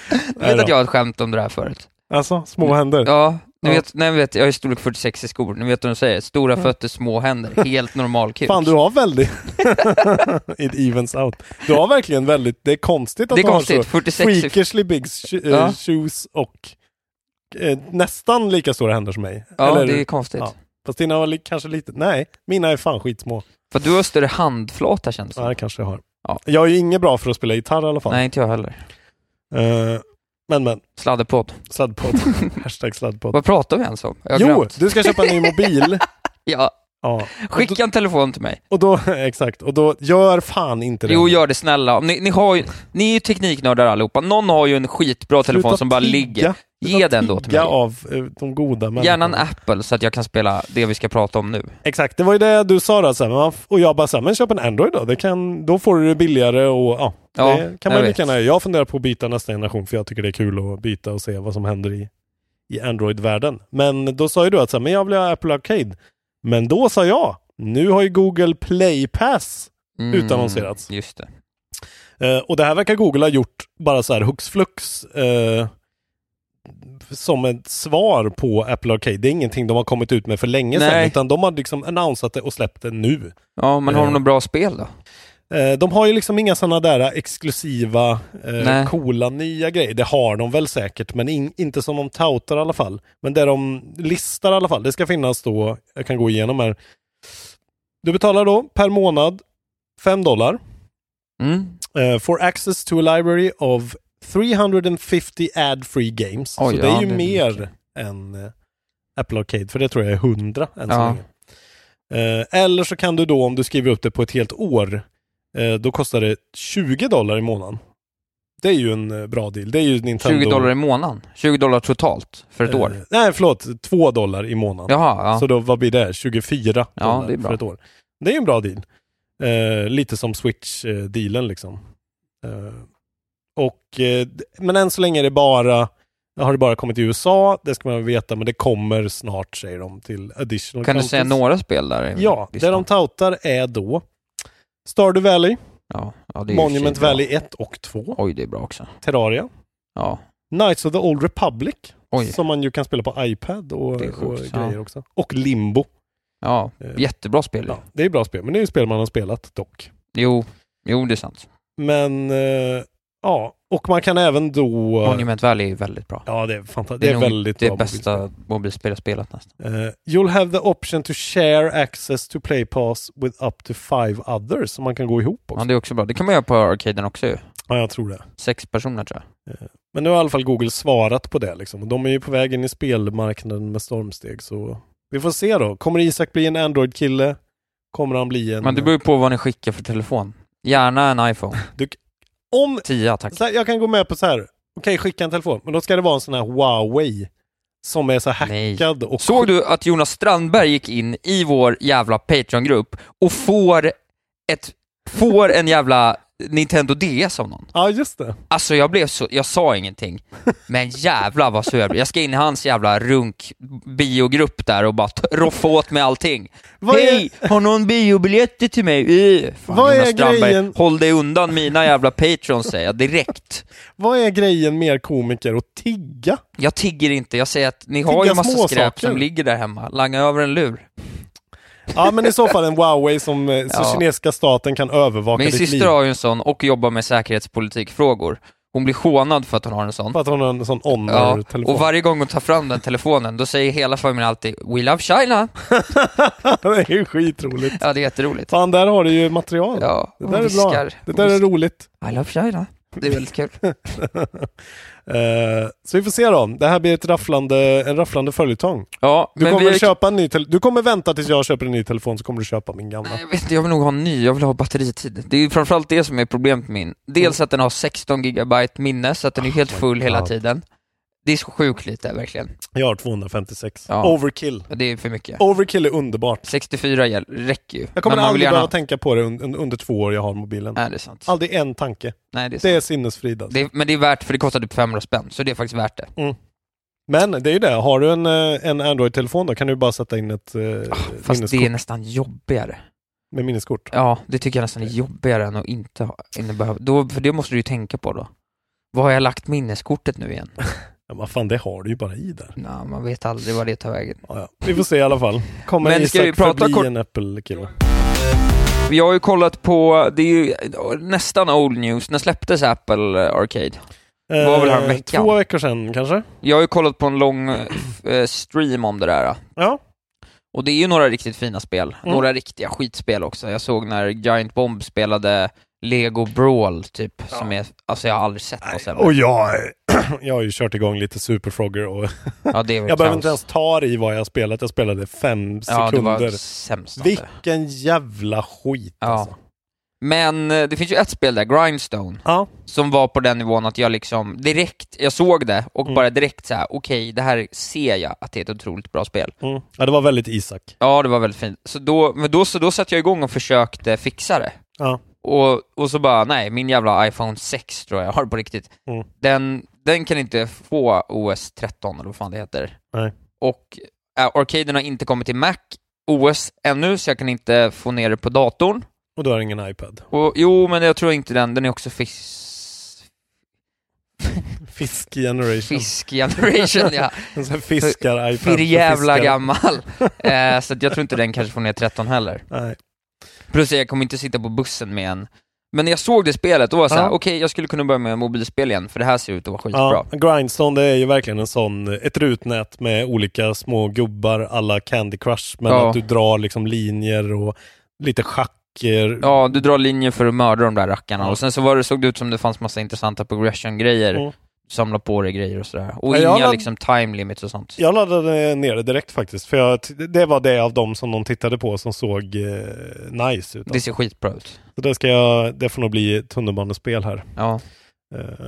du Nej vet då. att jag har ett skämt om det här förut? Alltså, små händer. Ja, ni Ja. vet, nej, vet, jag är storlek 46 i skor, ni vet vad de säger, stora fötter, små händer, helt normal kuk. Fan, du har väldigt... It evens out. Du har verkligen väldigt... Det är konstigt att det är du konstigt, har 46 så... Freakishly big sh- eh, Ja. shoes och eh, nästan lika stora händer som mig. Ja, Eller, det är konstigt. Ja. Fast dina var li- kanske lite... Nej, mina är fan skitsmå. För du har större handflata känns det Ja, det som. kanske jag har. Ja. Jag är ju inget bra för att spela gitarr i alla fall. Nej, inte jag heller. Eh, men, men. Sladderpodd. Sladdpodd. Hashtag sladdpodd. Vad pratar vi ens om? Jag har Jo, glömt. du ska köpa en ny mobil. Ja, ja. skicka en telefon till mig. Och då, exakt. Och då, gör fan inte det. Jo, gör det snälla. Om Ni, ni, har ju, ni är ju tekniknördar allihopa. Någon har ju en skitbra telefon Sluta som bara tigga. ligger. Ge Sluta den då till tigga mig. av eh, de goda människorna. Gärna en Apple så att jag kan spela det vi ska prata om nu. Exakt, det var ju det du sa då. Så här, men man f- och jag bara så här, men köp en Android då. Det kan, då får du det billigare och ja, Ja, det kan jag man ju vet. lika gärna göra. Jag funderar på att byta nästa generation för jag tycker det är kul att byta och se vad som händer i, i Android-världen. Men då sa ju du att så här, men jag vill ha Apple Arcade. Men då sa jag, nu har ju Google Play Pass. Mm, Utannonserats. Just det. Eh, och det här verkar Google ha gjort bara så här hux flux. Eh, som ett svar på Apple Arcade. Det är ingenting de har kommit ut med för länge sedan. Nej. Utan de har liksom annonsat det och släppt det nu. Ja, men har de Eh. något bra spel då? Eh, De har ju liksom inga sådana där exklusiva, Nej. eh, coola, nya grejer. Det har de väl säkert, men in, inte som de toutar i alla fall. Men det de listar i alla fall, det ska finnas då, jag kan gå igenom här. Du betalar då per månad 5 dollar Mm. eh, for access to a library of 350 ad-free games. Oj, Så det ja, är ju det är mer mycket. än eh, Apple Arcade, för det tror jag är 100 än så Ja. länge. Eh, Eller så kan du då, om du skriver upp det på ett helt år, eh, då kostar det 20 dollar i månaden. Det är ju en eh, bra deal. Det är ju Nintendo... 20 dollar i månaden. 20 dollar totalt för ett Eh, år. Nej, förlåt. 2 dollar i månaden. Jaha, ja. Så då, vad blir det? 24 dollar Ja, det är bra. för ett år. Det är ju en bra deal. Eh, lite som Switch-dealen liksom. Eh, och, eh, d- men än så länge är det bara, har det bara kommit i USA, det ska man veta, men det kommer snart säger de till additional Kan du säga countries. några spel där? i Ja, det listan? de toutar är då Stardew Valley, ja, ja, det är ju i och Monument för sig Valley 1 och 2, Bra. Oj, det är bra också. Terraria, Ja. Knights of the Old Republic, Oj. som man ju kan spela på iPad och, Det är sjukt, och ja. grejer också. Och Limbo. Ja, Eh, jättebra spel. Ja, det är bra spel, men det är ju spel man har spelat dock. Jo, jo, det är sant. Men, eh, ja. Och man kan även då... eh, Monument Valley är väldigt bra. Ja, det är fantastiskt. Det är, nog väldigt det bra bästa mobilspel jag spelat nästan. Eh, you'll have the option to share access to play pass with up to five others, som man kan gå ihop Ja, också. det är också bra. Det kan man göra på arcaden också ju. Ja, jag tror det. Sex personer tror jag. Men nu har i alla fall Google svarat på det liksom. Och de är ju på väg in i spelmarknaden med stormsteg, så vi får se då. Kommer Isak bli en Android-kille? Kommer han bli en... Men det beror ju på vad ni skickar för telefon. Gärna en iPhone. Om 10 tack. Så här, jag kan gå med på så här. Okej, skicka en telefon. Men då ska det vara en sån här Huawei. Som är så Nej. hackad och Såg du att Jonas Strandberg gick in i vår jävla Patreon-grupp och får, ett, får en jävla Nintendo DS av någon? Ja, just det. Alltså jag blev så, jag sa ingenting, men jävla vad sur jag blev. Jag ska in i hans jävla runk-biogrupp där och bara t- roffa åt mig allting. Vad är- Hej, har någon biobiljetter till mig? Uh, fan, Vad är Jonas Strandberg, grejen? håll dig undan mina jävla patrons säger jag direkt. Vad är grejen med er komiker? Att tigga? Jag tigger inte, jag säger att ni har Tigga ju en massa små skräp saker. som ligger där hemma. Langa över en lur. Ja, men i så fall en Huawei som eh, Ja. så kinesiska staten kan övervaka Min ditt liv. syster har ju en sån och jobbar med säkerhetspolitikfrågor. Hon blir hånad för att hon har en sån. För att hon har en sån Ja, honor-telefon. och varje gång hon tar fram den telefonen, då säger hela familjen alltid ”We love China”. det är ju skitroligt. Ja, det är jätteroligt. Fan, där har du ju material. Ja, det hon där är bra. viskar. Det där är roligt. I love China. Det är väldigt kul. Eh, så vi får se då. Det här blir ett rafflande, en rafflande följetong. Ja, Du men kommer vi... köpa en ny telefon. Du kommer vänta tills jag köper en ny telefon så kommer du köpa min gamla. Nej, jag vet inte, jag vill nog ha en ny. Jag vill ha batteritid. Det är ju framförallt det som är problemet med min. Dels att den har 16 gigabyte minne, så att den är helt full hela Mm. Ah, God. tiden. Det är så sjukt lite, verkligen. Jag har 256. Ja. Overkill. Det är för mycket. Overkill är underbart. 64 gäll- räcker ju. Jag kommer Men man vill aldrig gärna- behöva tänka på det under, under två år jag har mobilen. Nej, det är sant. Aldrig en tanke. Nej, det är sant. Det Eh, är sinnesfrid alltså. Det är, men det är värt, för det kostar typ 500 spänn, så det är faktiskt värt det. Men det är ju det. Har du en, eh, en Android-telefon då kan du bara sätta in ett eh, Ah, Fast det minneskort. är nästan jobbigare. Med minneskort. Ja, det tycker jag nästan är Eh. jobbigare än att inte ha, inte behöva, då, för det måste du ju tänka på då. Vad har jag lagt minneskortet nu igen? Ja, vad fan, det har du ju bara i där. Nej, man vet aldrig vad det tar vägen. Ja, ja. Vi får se i alla fall. Kommer Men ska Isak vi prata förbli kort- en Apple-kille? Jag har ju kollat på, det är ju nästan old news, när släpptes Apple Arcade? Eh, var väl häromveckan. Två veckor sedan kanske? Jag har ju kollat på en lång eh, stream om det där. Ja. Och det är ju några riktigt fina spel, Mm. några riktiga skitspel också. Jag såg när Giant Bomb spelade Lego Brawl typ, som är, alltså jag har aldrig sett något Och sämre. jag, jag har ju kört igång lite Superfrogger och Ja, det var Jag behöver inte kaos. ens ta i vad jag har spelat. Jag spelade fem Ja, det var sekunder. sämst. av det. Vilken jävla skit Ja. alltså. Men eh, det finns ju ett spel där, Grindstone, Ja. som var på den nivån att jag liksom direkt, jag såg det och Mm. bara direkt så här: okej, det här ser jag att det är ett otroligt bra spel. Mm. ja, det var väldigt Isak. Ja, det var väldigt fint. Så då, men då, så då satte jag igång och försökte fixa det. Ja. Och, och så bara, nej, min jävla iPhone 6 tror jag jag har på riktigt. Mm. Den, den kan inte få OS 13 eller vad fan det heter. Nej. Och äh, arcaden har inte kommit till Mac OS ännu, så jag kan inte få ner det på datorn. Och du har ingen iPad. Och, jo, men jag tror inte den. Den är också fisk... Fisk generation. Fisk generation, ja. En sån här fiskar-iPad. För för jävla fiskar. gammal. Eh, så att jag tror inte den kanske får ner 13 heller. Nej. Plus jag kommer inte sitta på bussen med en. Men när jag såg det spelet, då var jag såhär, Ja. okej, jag skulle kunna börja med mobilspel igen, för det här ser ut att vara skitbra. Ja, Grindstone det är ju verkligen en sån, ett rutnät med olika små gubbar alla Candy Crush. Men Ja. att du drar liksom linjer och lite schacker. Ja, du drar linjer för att mörda de där rackarna och sen så var det, såg det ut som det fanns massa intressanta progression-grejer. Mm. samla på dig grejer och sådär. Och Ja, jag inga ladd- liksom time limits och sånt. Jag laddade ner det direkt faktiskt, för jag, t- det var det av dem som de tittade på som såg eh, nice ut. Det ser skitbra ut. Så det, ska jag, det får nog bli tunnelbanespel här Ja. eh,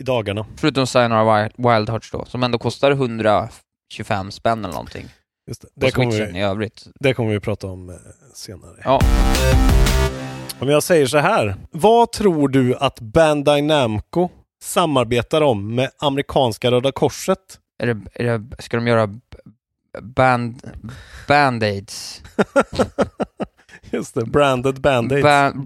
i dagarna. Förutom Sayonara Wild- Wild Hearts då, som ändå kostar 125 spänn eller någonting. Just det. Det, Det kommer Switchen i vi, övrigt. det kommer vi prata om eh, senare. Ja. Om jag säger så här, vad tror du att Bandai Namco samarbetar om med amerikanska Röda Korset? Är det, är det, ska de göra b- band, band-aids? Just det, branded band-aids. Ba- branded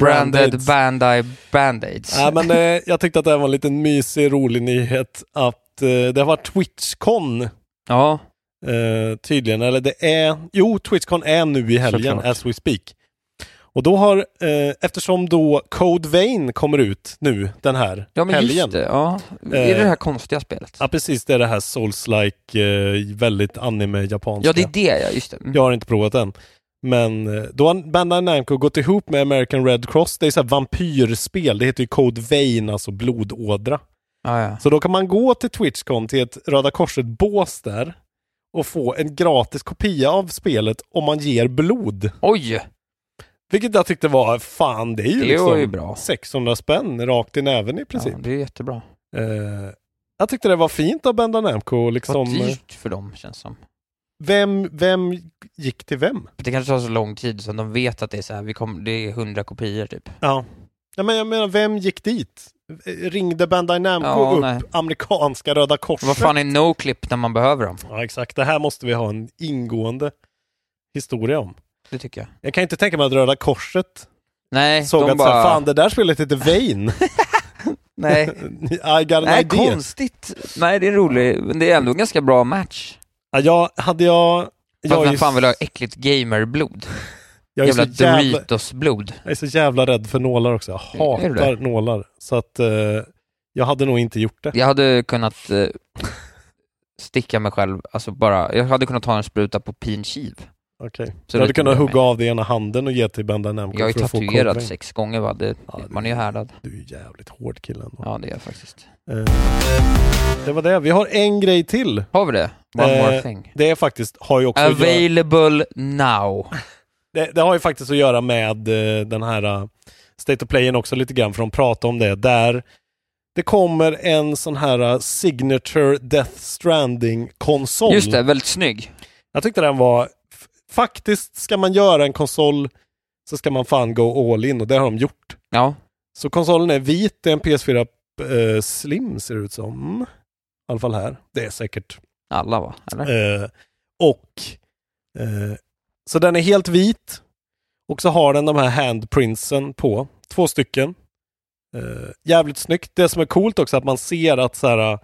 Brand-aids. Bandai band-aids. Nej, men eh, jag tyckte att det här var en liten mysig, rolig nyhet att eh, det har varit Twitchcon Ja, eh, tydligen, eller det är, jo Twitchcon är nu i helgen Såklart. as we speak. Och då har, eh, eftersom då Code Vein kommer ut nu den här ja men helgen. just det. Ja. Eh, Är det det här konstiga spelet? Ja precis, det är det här Souls-like, eh, väldigt anime-japanska. Ja, det är det ja, just det. Mm. Jag har inte provat den. Men eh, då har Bandai Namco gått ihop med American Red Cross. Det är så här vampyrspel. Det heter ju Code Vein, alltså blodådra. Ja, ja. Så då kan man gå till Twitchcon till ett Röda Korset-bås där och få en gratis kopia av spelet om man ger blod. Oj! Vilket jag tyckte var, fan det är ju Det liksom var ju bra. 600 spänn rakt i näven i Ja, princip. det är jättebra. Eh, jag tyckte det var fint av Bandai Namco. Liksom, Vad eh, dyrt för dem, känns som. vem, vem gick till vem? Det kanske tar så lång tid så de vet att det är så här, vi kommer, det är 100 kopior typ. Ja. ja men jag menar, vem gick dit? Eh, Ringde Bandai Namco Ja, upp nej. amerikanska Röda Korset? Vad fan är no-clip när man behöver dem? Ja, exakt. Det här måste vi ha en ingående historia om. Det tycker jag. Jag kan inte tänka mig att Röda Korset Nej, såg de att bara... bara... fan det där spelet heter Vain. nej, I got an nej idea. konstigt. Nej, det är roligt. Men det är ändå en ganska bra match. Ja, jag, hade jag... Fast Jag, vem ju- fan vill ha äckligt gamerblod? jag, är Jävla så jävla, Doritos-blod. jag är så jävla rädd för nålar också. Jag Är du det? hatar nålar. Så att eh, jag hade nog inte gjort det. Jag hade kunnat eh, sticka mig själv, alltså bara, jag hade kunnat ta en spruta på pinkiv. Okej. Så Jag hade lite kunnat med hugga mig. av det ena handen och ge till Bandai Namco Jag är för att få tatuerad kodring. sex gånger va, det, Ja, det- man är ju härdad. Du är ju jävligt hård killen. då. Ja, det är jag faktiskt. Eh, Det var det. Vi har en grej till. Har vi det? One Eh, more thing. Det är faktiskt, har ju också att göra, Available now. det, det har ju faktiskt att göra med eh, den här eh, State of Playen också lite grann, för de pratar om det där. Det kommer en sån här eh, Signature Death Stranding-konsol. Just det, väldigt snygg. Jag tyckte den var... f- Faktiskt, ska man göra en konsol så ska man fan go all in och det har de gjort. Ja, Så konsolen är vit, det är en PS4 eh, Slim ser det ut som. I alla fall här. Det är säkert. alla va? Eller? Eh, och eh, Så den är helt vit. Och så har den de här handprintsen på. Två stycken. Eh, jävligt snyggt. Det som är coolt också är att man ser att så här, eh,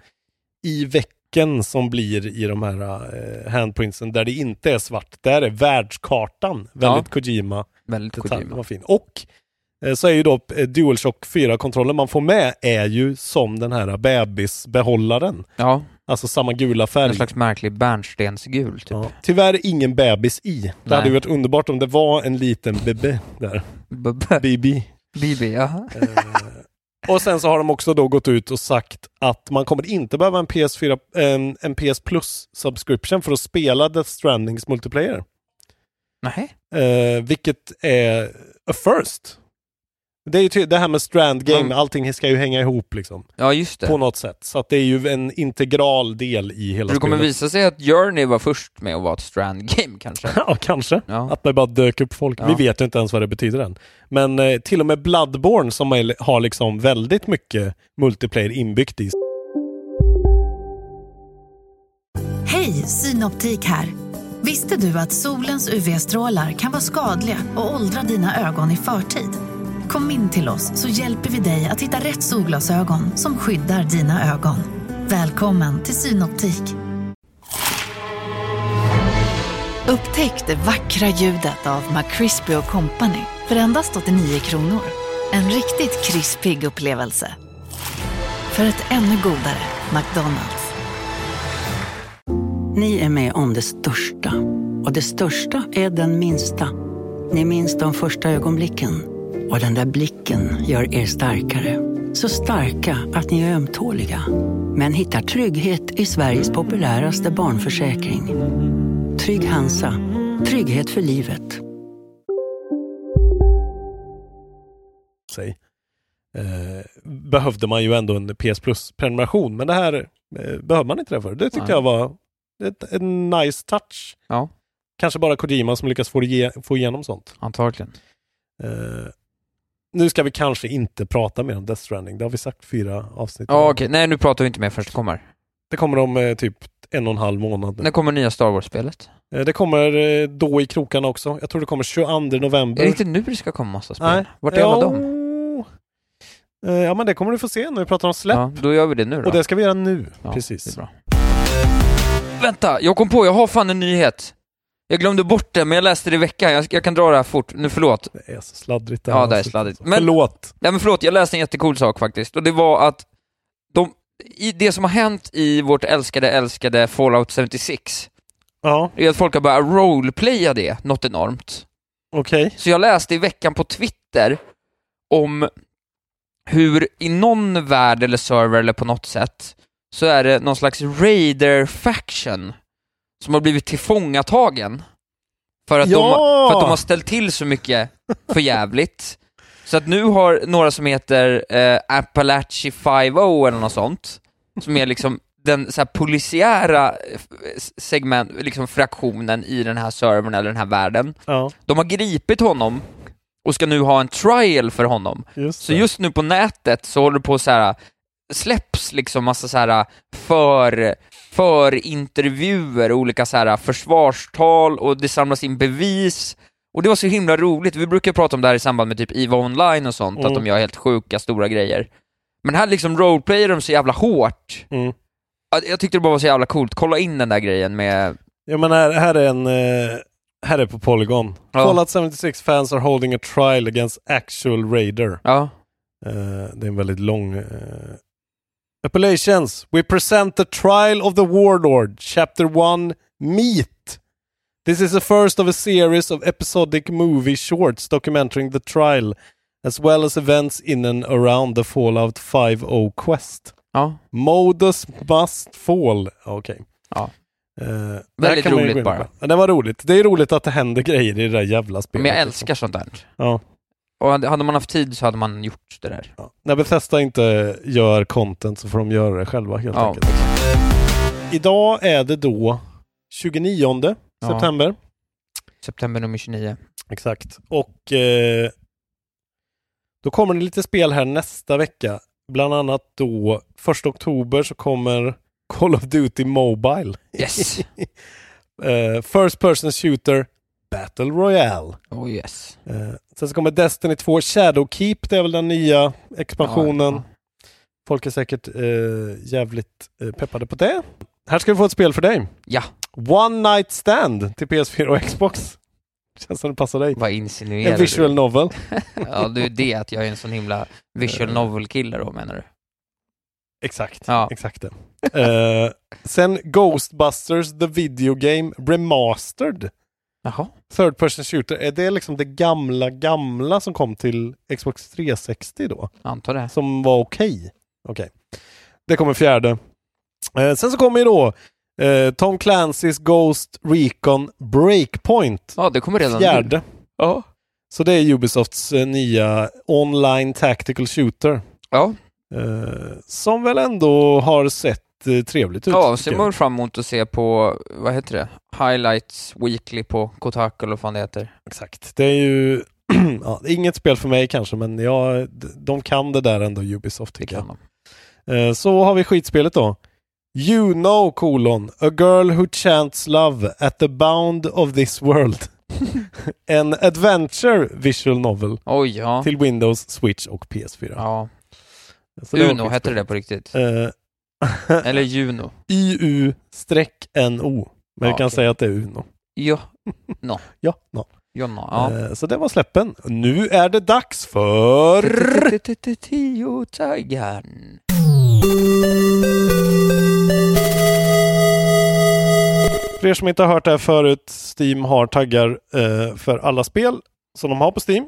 i vecken som blir i de här eh, handprintsen där det inte är svart, där är världskartan väldigt Kojima Väldigt detaljen Kojima. var fin. Och eh, så är ju då eh, DualShock 4-kontrollen man får med är ju som den här bebisbehållaren. Ja, Alltså samma gula en färg. slags märklig bärnstensgul typ. Ja. Tyvärr ingen bebis i. Det Nej. hade ju varit underbart om det var en liten bebe där. B- Bibi. BB, ja. Eh, och sen så har de också då gått ut och sagt att man kommer inte behöva en PS4, en, en PS Plus subscription för att spela Death Strandings multiplayer. Nej. Eh, vilket är a first. Det är ju ty- det här med strand game, Mm. allting ska ju hänga ihop liksom. Ja, just det. På något sätt. Så att det är ju en integral del i hela Det kommer spelet. visa sig att Journey var först med att vara ett strand-game kanske. ja, kanske. Ja. Att det bara dök upp folk. Ja. Vi vet ju inte ens vad det betyder än. Men eh, till och med Bloodborne som är, har liksom väldigt mycket multiplayer inbyggt i. Hej, Synoptik här. Visste du att solens UV-strålar kan vara skadliga och åldra dina ögon i förtid? Kom in till oss så hjälper vi dig att hitta rätt solglasögon som skyddar dina ögon. Välkommen till Synoptik. Upptäck det vackra ljudet av McCrispy Company för endast 89 kronor. En riktigt krispig upplevelse. För ett ännu godare McDonalds. Ni är med om det största. Och det största är den minsta. Ni minns de första ögonblicken. Och den där blicken gör er starkare. Så starka att ni är ömtåliga. Men hittar trygghet i Sveriges populäraste barnförsäkring. Trygg Hansa. Trygghet för livet. sig. Eh, behövde man ju ändå en PS Plus-prenumeration, men det här eh, behöver man inte det för. Det tyckte Nej. jag var ett, en nice touch. Kanske bara Kojima som lyckas få, det ge, få igenom sånt. Antagligen. Eh, nu ska vi kanske inte prata mer om Death Stranding, det har vi sagt fyra avsnitt. Ja, okej. Nej, nu pratar vi inte mer förrän det kommer. Det kommer om eh, typ en och en halv månad. nu. När kommer nya Star Wars-spelet? Eh, det kommer eh, då i krokarna också. Jag tror det kommer 22 november. Är det inte nu det ska komma massa spel? Nej. Vart är alla Ja. dem? Eh, ja, men det kommer du få se när vi pratar om släpp. Ja, då gör vi det nu då. Och det ska vi göra nu, Ja, precis. det är bra. Vänta, jag kom på, jag har fan en nyhet. Jag glömde bort det, men jag läste det i veckan. Jag, jag kan dra det här fort. Nu, förlåt. Det är så sladdrigt det här Ja, det är avsnittet. sladdigt. Förlåt. Nej, men förlåt, jag läste en jättecool sak faktiskt. Och det var att de, i det som har hänt i vårt älskade, älskade Fallout 76 ja. är att folk har börjat roleplaya det, något enormt. Okej. Så jag läste i veckan på Twitter om hur i någon värld eller server eller på något sätt så är det någon slags raider faction som har blivit tillfångatagen för att, de, Ja! har- för att de har ställt till så mycket för jävligt. Så att nu har några som heter eh, Appalachie 5.0 eller något sånt, som är liksom den så här, polisiära eh, segment, liksom fraktionen i den här servern eller den här världen. Ja. De har gripit honom och ska nu ha en trial för honom. Just så just nu på nätet så håller det på så här släpps liksom massa så här för, för intervjuer och olika så här försvarstal och det samlas in bevis. Och det var så himla roligt. Vi brukar prata om det här i samband med typ EVA Online och sånt, att Mm. de gör helt sjuka stora grejer. Men här liksom roleplayar de så jävla hårt. Mm. Ja, Jag tyckte det bara var så jävla coolt. Kolla in den där grejen med... Jag menar, här, här är en... eh, Här är på Polygon. Ja. Fallout 76 fans are holding a trial against actual raider. Ja. det är en väldigt lång... eh, Appellations. We present the trial of the warlord, chapter 1, meet. This is the first of a series of episodic movie shorts documenting the trial as well as events in and around the Fallout 5.0 quest. Ja. Modus must fall. Okej. Ja. Eh, det här Väldigt kan man ju roligt gå in på. bara. Ja, Det var roligt. Det är roligt att det händer grejer i det där jävla spelet. Men jag liksom. älskar sånt där. Ja. Och hade hade man haft tid så hade man gjort det där. När Bethesda inte gör content så får de göra det själva helt Ja. enkelt. Idag är det då 29 Ja. september. September nummer 29. Exakt. Och eh, då kommer det lite spel här nästa vecka. Bland annat då 1 oktober så kommer Call of Duty Mobile. Yes! eh, first person shooter Battle Royale. Oh yes. Eh, sen så kommer Destiny 2 Shadowkeep, det är väl den nya expansionen. Ja, Folk är säkert eh, jävligt eh, peppade på det. Här ska vi få ett spel för dig. Ja. One Night Stand till PS4 och Xbox. Känns som det passar dig. Vad insinuerar En visual novel. du? Ja, du är det att jag är en sån himla visual novel-kille då menar du? Exakt, Ja. exakt det. Eh, sen Ghostbusters The Video Game Remastered. Jaha. Third Person Shooter, är det liksom det gamla, gamla som kom till Xbox 360 då? Antar det. Som var okej. Okej. Det kommer fjärde. Eh, sen så kommer ju då eh, Tom Clancys Ghost Recon Breakpoint. Ja, det kommer redan nu. Fjärde. Ja. Så det är Ubisofts eh, nya online tactical shooter. Ja. Eh, som väl ändå har sett eh, trevligt ut. Ja, tycker ser jag. man fram emot att se på, vad heter det? Highlights Weekly på Kotaku eller vad fan det heter. Exakt. Det är ju ja, det är inget spel för mig kanske, men jag, d- de kan det där ändå, Ubisoft. Det Tycker kan de. jag. Eh, Så har vi skitspelet då. You know, colon, a girl who chants love at the bound of this world. en adventure visual novel Oj, ja. till Windows, Switch och PS4. Ja. Så det var Uno hette det skitspel. där på riktigt. Eh, Eller Juno. IU-NO. Men Ja, vi kan okej. säga att det är Uno. Jo. Ja, no. Jonna, ja. Eh, Så det var släppen. Nu är det dags för... Tio Tigern. För er som inte har hört det här förut, Steam har taggar eh, för alla spel som de har på Steam.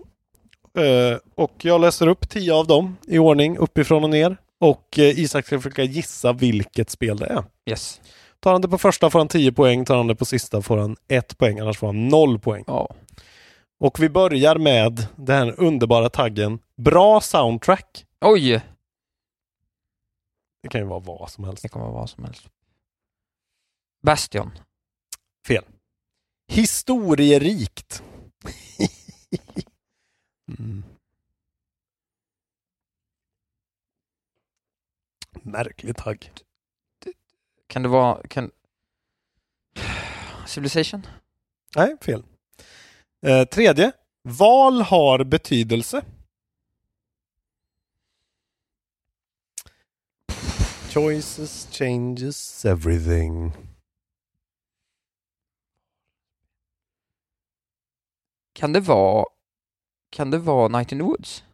Eh, och jag läser upp tio av dem i ordning, uppifrån och ner. Och eh, Isak ska försöka gissa vilket spel det är. Yes. Tar han det på första får han 10 poäng, tar han det på sista får han 1 poäng, annars får han 0 poäng. Och vi börjar med den här underbara taggen Bra soundtrack. Oj! Det kan ju vara vad som helst. Det kan vara vad som helst. Bastion. Fel. Historierikt. mm. Märklig tagg. Kan det vara... Kan... Civilization? Nej, fel. Eh, tredje. Val har betydelse. Choices changes everything. Kan det vara... Kan det vara Night in the Woods?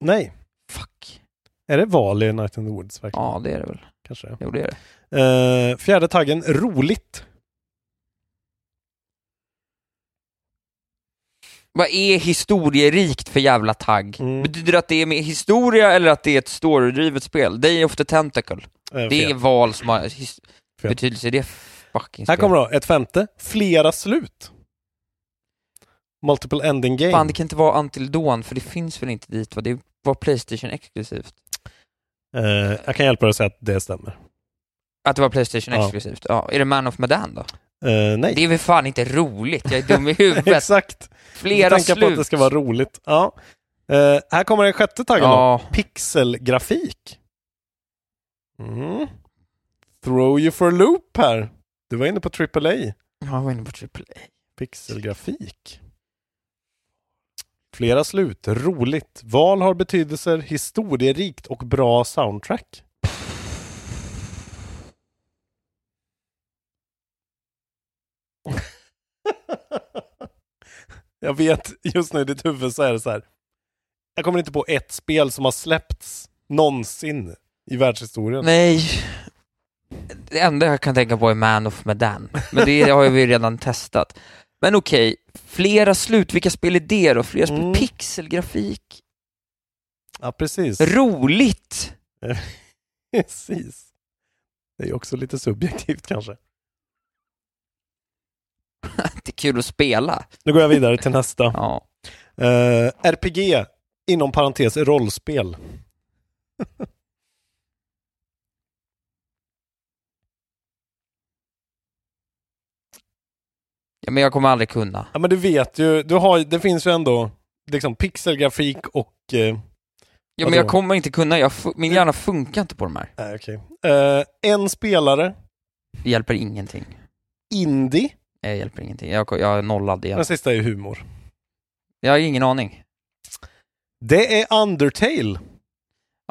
Nej. Fuck. Är det val i Night in the Woods verkligen? Ja, det är det väl. Kanske. Jo, det är det. Eh, fjärde taggen. Roligt. Vad är historierikt för jävla tagg? Mm. Betyder det att det är med historia eller att det är ett storydrivet spel? Day of the Tentacle. Eh, det är fel. val som har his- Fel. betydelse i det fucking Här spelet. kommer då ett femte. Flera slut. Multiple ending game. Fan, det kan inte vara Until Dawn, för det finns väl inte dit va? Det var Playstation exklusivt. Eh, jag kan hjälpa dig att säga att det stämmer. Att det var Playstation Ja. exklusivt? Ja. Är det Man of Medan då? Eh, nej. Det är väl fan inte roligt? Jag är dum i huvudet. Exakt. Flera tänka på att slut. det ska vara roligt. Ja. Eh, här kommer den sjätte taggen Ja. då. Pixelgrafik. Mm. Throw you for a loop här. Du var inne på AAA. Jag var inne på AAA. Pixelgrafik. Flera slut. Roligt. Val har betydelser. Historierikt och bra soundtrack. Jag vet, just nu i ditt huvud så är det så här. Jag kommer inte på ett spel som har släppts någonsin i världshistorien. Nej. Det enda jag kan tänka på är Man of Medan. Men det har vi ju redan testat. Men okej, flera slut. Vilka spel är det då? Flera spel? Mm. Pixelgrafik? Ja, precis. Roligt! precis. Det är ju också lite subjektivt kanske. Det är kul att spela. Nu går jag vidare till nästa. ja. Eh, RPG, inom parentes rollspel. ja. Men jag kommer aldrig kunna. Ja men du vet ju, du har, det finns ju ändå liksom pixelgrafik och... eh, Ja, men vadå? jag kommer inte kunna. Jag, fu- min hjärna funkar inte på de här. Nej, okej. Eh, en spelare, Det hjälper ingenting. indie. Nej, Det hjälper ingenting. Jag, jag är nollad igen. Den sista är ju humor. Jag har ingen aning. Det är Undertale.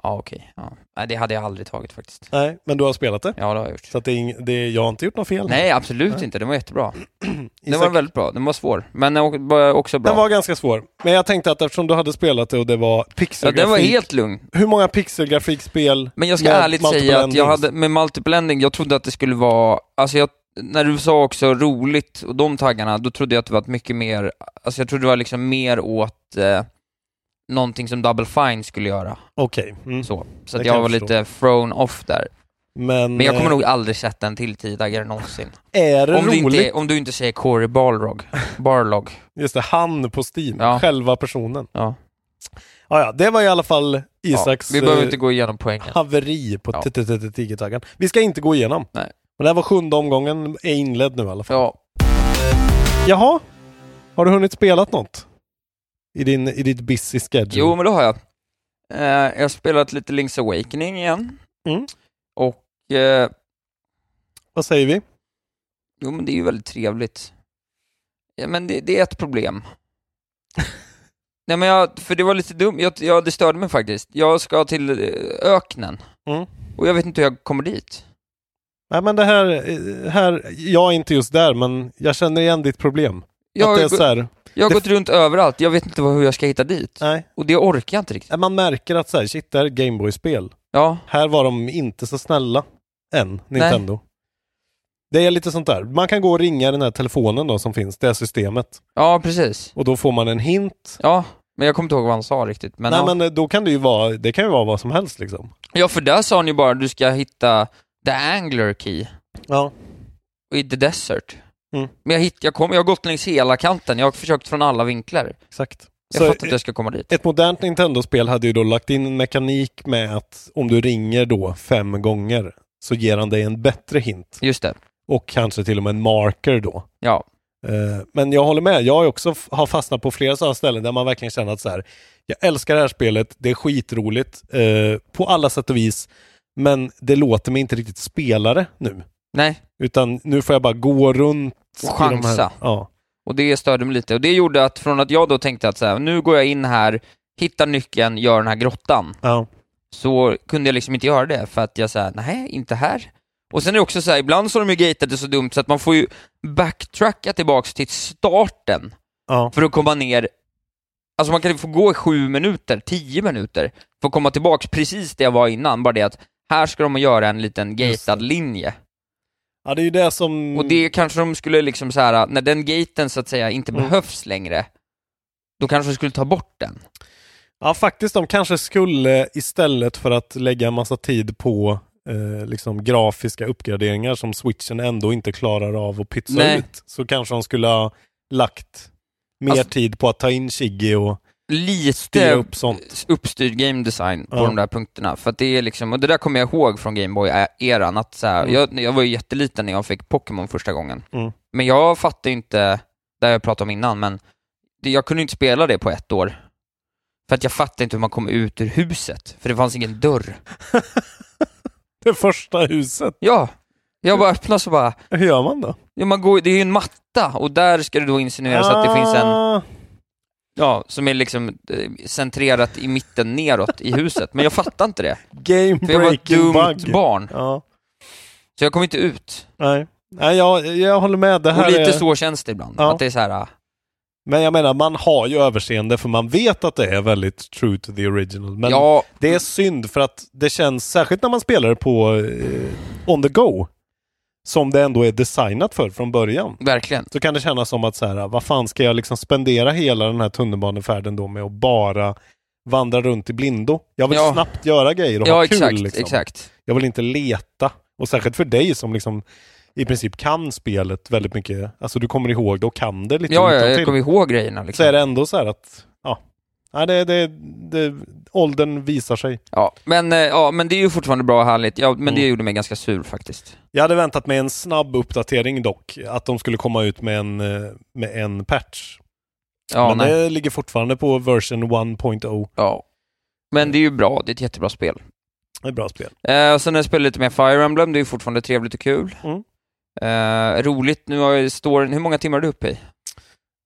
Ja, okej. Ja. Nej, det hade jag aldrig tagit faktiskt. Nej, men du har spelat det. Ja, det har jag gjort. Så att det är ing, det, jag har inte gjort något fel. Nej, absolut Nej. inte. Den var jättebra. Den Isak- var väldigt bra. Den var svår. Men den var också bra. Den var ganska svår. Men jag tänkte att eftersom du hade spelat det och det var ja, pixelgrafik. den var helt lugn. Hur många pixelgrafikspel Men jag ska med ärligt multiple säga att jag endings? hade, med multiple ending, jag trodde att det skulle vara, alltså jag, när du sa också roligt och de taggarna, då trodde jag att det var ett mycket mer, alltså jag trodde det var liksom mer åt eh, någonting som Double Fine skulle göra. Okej. Mm. Så, så Det att kan jag jag var förstå. lite thrown off där. Men, Men jag kommer eh, nog aldrig sätta en till tio taggare någonsin. Är det om, du roligt? inte, om du inte säger Corey Barlog. Barlog. Just det, han på Steam. Ja. Själva personen. Ja. Ja, ja, det var i alla fall Ja, Isaks vi behöver eh, inte gå igenom poängen. haveri på Ja. tigertaggan. Vi ska inte gå igenom. Nej. Men det här var sjunde omgången, är inledd nu i alla fall. Ja. Jaha? Har du hunnit spela något? I, din, I ditt busy schedule? Jo, men det har jag. Eh, jag har spelat lite Link's Awakening igen. Mm. Och, eh, Vad säger vi? jo men det är ju väldigt trevligt. Ja, men det, det är ett problem. Nej men jag, för det var lite dumt, jag, jag, det störde mig faktiskt. Jag ska till eh, öknen. Mm. Och jag vet inte hur jag kommer dit. Nej men det här, eh, här, jag är inte just där men jag känner igen ditt problem. Jag att det är har gå- så här, Jag har Det- gått runt överallt, jag vet inte vad- hur jag ska hitta dit. nej, Och det orkar jag inte riktigt. man märker att så här, shit det här är Gameboy-spel. Ja, Här var de inte så snälla än, Nintendo. Det är lite sånt där. Man kan gå och ringa den här telefonen då som finns, det här systemet. ja precis. Och då får man en hint Ja, Men jag kommer inte ihåg vad han sa riktigt. Men Nej ja. men eh, då kan det ju vara, det kan ju vara vad som helst liksom. ja, för där sa han ju bara du ska hitta the angler key. Ja. Och i the desert. Mm. Men jag, hitt, jag, kom, jag har gått längs hela kanten, jag har försökt från alla vinklar. Exakt. Jag Så, fattar att eh, jag ska komma dit. Ett modernt Nintendo-spel hade ju då lagt in en mekanik med att om du ringer då fem gånger så ger han dig en bättre hint. Just det. Och kanske till och med en marker då. Ja. Eh, Men jag håller med, jag har ju också f- har fastnat på flera sådana ställen där man verkligen känner att så här, jag älskar det här spelet, det är skitroligt eh, på alla sätt och vis, men det låter mig inte riktigt spelare nu. Nej. Utan nu får jag bara gå runt. i Och de här- chansa. Ja. Och det störde mig lite. Och det gjorde att från att jag då tänkte att så här, nu går jag in här, hittar nyckeln, gör den här grottan. Ja. Så kunde jag liksom inte göra det för att jag sa nej, inte här. Och sen är det också så här, ibland så har de ju gatade så dumt så att man får ju backtracka tillbaks till starten Ja. för att komma ner. Alltså man kan ju få gå i sju minuter, tio minuter, för att komma tillbaks precis där jag var innan. Bara det att här ska de göra en liten gatad linje. ja, det är ju det som... Och det kanske de skulle liksom så här, när den gaten så att säga inte Mm. behövs längre, då kanske de skulle ta bort den. Ja, faktiskt. De kanske skulle istället för att lägga en massa tid på eh, liksom grafiska uppgraderingar som switchen ändå inte klarar av att pytsa Nej. ut, så kanske de skulle ha lagt mer Alltså- tid på att ta in Shiggy och Lite styra upp sånt. uppstyrd game design på Ja. de där punkterna. För att det är liksom, och det där kommer jag ihåg från Gameboy-eran, att så här, Mm. jag, jag var ju jätteliten när jag fick Pokémon första gången. Mm. Men jag fattar ju inte, det har jag pratat om innan, men det, jag kunde ju inte spela det på ett år. För att jag fattade inte hur man kom ut ur huset, för det fanns ingen dörr. Det första huset. Ja, jag bara öppnade så bara, Hur gör man då? Ja, man går, det är ju en matta och där ska det då insinueras att det finns en, Ah, ja, som är liksom eh, centrerat i mitten neråt i huset. Men jag fattar inte det. Game För jag var ett breaking dumt bug. barn. Ja, Så jag kom inte ut. nej. Nej, jag, jag håller med. Det här Och lite är... så känns det ibland. Ja. Att det är så här, ah, Men jag menar, man har ju överseende för man vet att det är väldigt true to the original. Men ja, det är synd för att det känns, särskilt när man spelar det på eh, on the go, som det ändå är designat för från början, verkligen. så kan det kännas som att så här, vad fan ska jag liksom spendera hela den här tunnelbanefärden då med att bara vandra runt i blindo? Jag vill Ja. snabbt göra grejer och Ja, ha kul. exakt, liksom. exakt. Jag vill inte leta. Och särskilt för dig som liksom i princip kan spelet väldigt mycket. Alltså du kommer ihåg det och kan det lite Ja, ja, jag utantill. kommer ihåg grejerna Så liksom. är det ändå så här att, ja. Nej, det, det, det, åldern visar sig. Ja, men, eh, ja, men det är ju fortfarande bra och härligt. Ja, men det Mm. gjorde mig ganska sur faktiskt. Jag hade väntat mig en snabb uppdatering dock, att de skulle komma ut med en, eh, med en patch. Ja, Men nej. det ligger fortfarande på version oh. 1.0. Ja. Men det är ju bra, det är ett jättebra spel. Det är ett bra spel. Eh, och sen har jag spelat lite mer Fire Emblem, det är ju fortfarande trevligt och kul. Mm. Eh, roligt, nu har jag storyn, hur många timmar är du uppe i?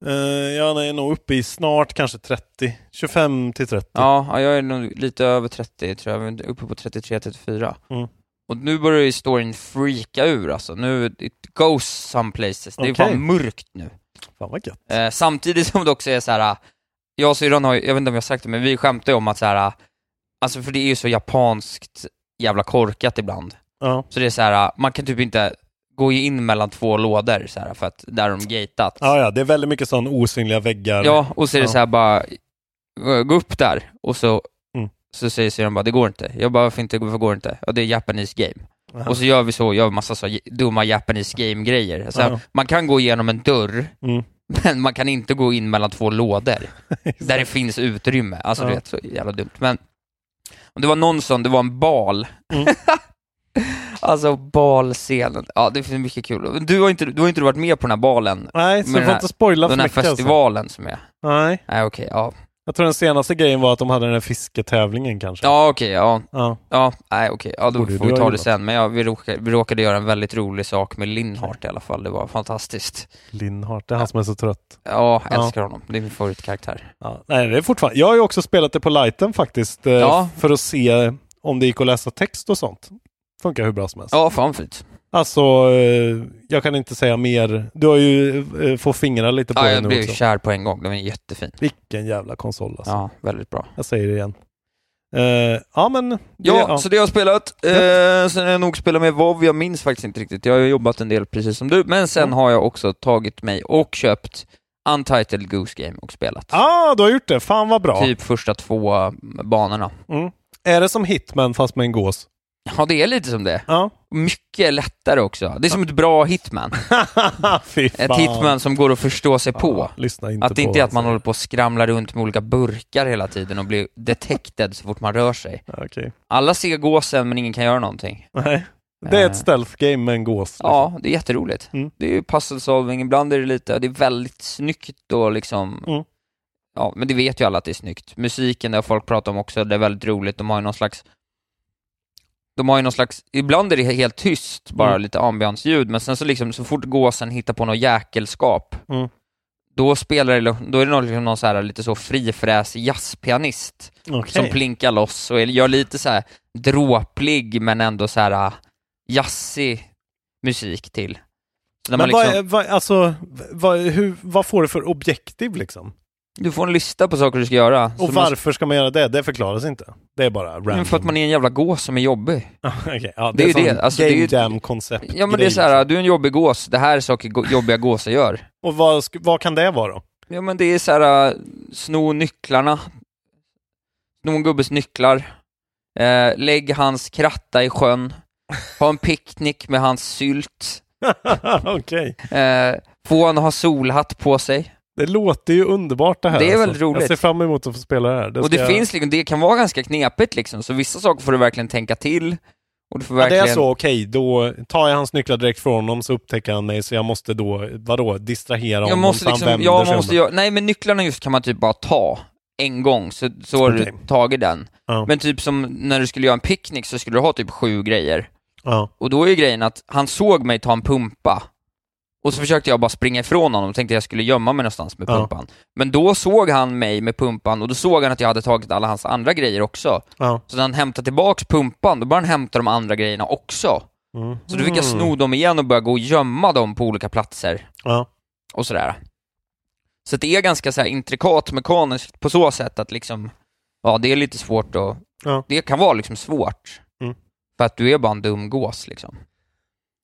Uh, jag är nog uppe i snart kanske 30, 25 till 30. Ja, ja, jag är nog lite över 30 tror jag, men uppe på 33-34. Mm. Och nu börjar ju storyn freaka ur alltså, nu, it goes some places. Det är Okej. fan mörkt nu. Fan vad gött. Eh, samtidigt som det också är så här. jag och syrran har ju- jag vet inte om jag har sagt det, men vi skämtar ju om att så här. alltså för det är ju så japanskt jävla korkat ibland. Ja. Så det är så här, man kan typ inte gå in mellan två lådor så här, för att där har de gatat. Ja, ja, det är väldigt mycket sån osynliga väggar. Ja, och så är det Ja. så här bara, gå- gå upp där, och så, Mm. så säger syrran bara, det går inte. Jag bara, varför inte, varför går det inte? Ja, det är Japanese game. Ja. Och så gör vi så, gör massa så här dumma Japanese game-grejer. Så här, Ja. Man kan gå igenom en dörr, Mm. men man kan inte gå in mellan två lådor, där det finns utrymme. Alltså Ja. du vet, så jävla dumt. Men, om det var någon sån, det var en bal. Mm. Alltså balscenen, ja det finns mycket kul. Du har inte, du har inte varit med på den här balen, Nej, så Men du får den här- inte spoila för den här mycket. festivalen som är. Alltså. Nej. Nej okej, ja. Jag tror den senaste grejen var att de hade den här fisketävlingen kanske. Ja okej, ja. Ja. Ja, nej okej, ja, då Borde får vi du ha ta det gillat. sen. Men ja, vi, råkade, vi råkade göra en väldigt rolig sak med Linhart i alla fall, det var fantastiskt. Lindhart, det är han som är så trött. Ja, Ja. älskar honom. Det är min favoritkaraktär. Ja, nej, det är fortfarande. Jag har ju också spelat det på lighten faktiskt. eh, Ja. För att se om det gick att läsa text och sånt. Funkar hur bra som helst. Ja, fan fint. Alltså, eh, jag kan inte säga mer. Du har ju eh, fått fingrarna lite på Ja, det jag nu blev också. kär på en gång, den är jättefin. Vilken jävla konsol alltså. Ja, väldigt bra. Jag säger det igen. Eh, ja, men... Det, Ja, ja. så det har jag spelat. Eh, sen har jag nog spelat med WoW, jag minns faktiskt inte riktigt. Jag har ju jobbat en del precis som du, men sen har jag också tagit mig och köpt Untitled Goose Game och spelat. Ah, du har gjort det. Fan vad bra. Typ första två banorna. Mm. Är det som Hitman fast med en gås? Ja, det är lite som det. Ja. Mycket lättare också. Det är som ett bra hitman. Fy Ett fan. hitman som går att förstå sig på. lyssna inte att det på alltså. inte är vad att man håller på och skramlar runt med olika burkar hela tiden och blir detected så fort man rör sig. Okej. Alla ser gåsen men ingen kan göra någonting. Nej. Det är ett stealth game med en gås. liksom. Eh. Ja, det är jätteroligt. Mm. Det är ju puzzle solving, ibland är det lite, det är väldigt snyggt och liksom, Mm. ja men det vet ju alla att det är snyggt. Musiken där folk pratar om också, det är väldigt roligt, de har ju någon slags, de har ju någon slags, ibland är det helt tyst, bara Mm. lite ambiansljud, men sen så liksom, så fort gåsen hittar på något jäkelskap, Mm. då spelar det, då är det någon, liksom någon så här lite så frifräsig jazzpianist Okej. som plinkar loss och är- gör lite så här dråplig men ändå så här ah, jazzig musik till. Så när Men man liksom, vad, är- vad, alltså, vad, hur, vad får du för objektiv liksom? Du får en lista på saker du ska göra. Och Så man- varför ska man göra det? Det förklaras inte. Det är bara random. Men för att man är en jävla gås som är jobbig. Okej, ja, Det är ju som det, alltså, det är game ju- jam-koncept. Ja men det är så här, ah, du är en jobbig gås, det här är saker go- jobbiga gåsar gör. liksom. Och vad, sk- vad kan det vara då? Ja men det är så här, äh, sno nycklarna, sno en gubbes nycklar, eh, lägg hans kratta i sjön, ha en picknick med hans sylt, Okej. eh, få han att ha solhatt på sig. Det låter ju underbart det här. Det är väldigt alltså. roligt. Jag ser fram emot att få spela det här. och ska det jag- finns liksom, det kan vara ganska knepigt liksom, så vissa saker får du verkligen tänka till. Och du får Ja, det verkligen... är så, okej, då tar jag hans nycklar direkt från honom så upptäcker han mig så jag måste då, vadå, distrahera jag honom måste så han liksom, vänder ja, sig man måste undan. göra, nej men nycklarna just kan man typ bara ta en gång, så, så har Okej. du tagit den. Ja. Men typ som när du skulle göra en picknick så skulle du ha typ sju grejer. Ja. Och då är ju grejen att han såg mig ta en pumpa. Och så försökte jag bara springa ifrån honom och tänkte jag skulle gömma mig någonstans med Ja. pumpan. Men då såg han mig med pumpan och då såg han att jag hade tagit alla hans andra grejer också. Ja. Så när han hämtade tillbaks pumpan, då började han hämta de andra grejerna också. Så då fick Mm. jag sno dem igen och börja gå och gömma dem på olika platser. Ja. Och sådär. Så att det är ganska så här intrikat mekaniskt på så sätt att liksom, ja det är lite svårt att, Ja. det kan vara liksom svårt. Mm. För att du är bara en dum gås liksom.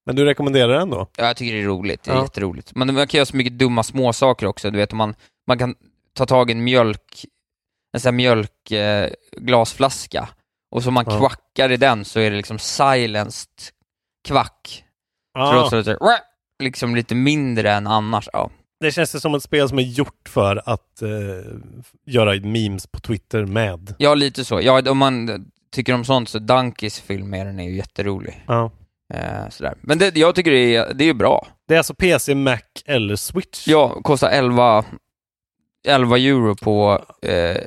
Men du rekommenderar den då? Ja, jag tycker det är roligt, det är Ja. jätteroligt. Men man kan göra så mycket dumma småsaker också, du vet om man, man kan ta tag i en mjölk, en sån här mjölkglasflaska eh, glasflaska. och så man Ja. kvackar i den så är det liksom silenced kvack. Ja. Så det låter lite, "Wah!" liksom lite mindre än annars. Ja. Det känns det som ett spel som är gjort för att eh, göra memes på Twitter med. ja, lite så. Ja, om man tycker om sånt så Dunkys film med den är ju jätterolig. Ja. Eh, sådär. Men det, jag tycker det är, det är ju bra. Det är alltså PC, Mac eller Switch? Ja, kostar 11, 11 euro på eh,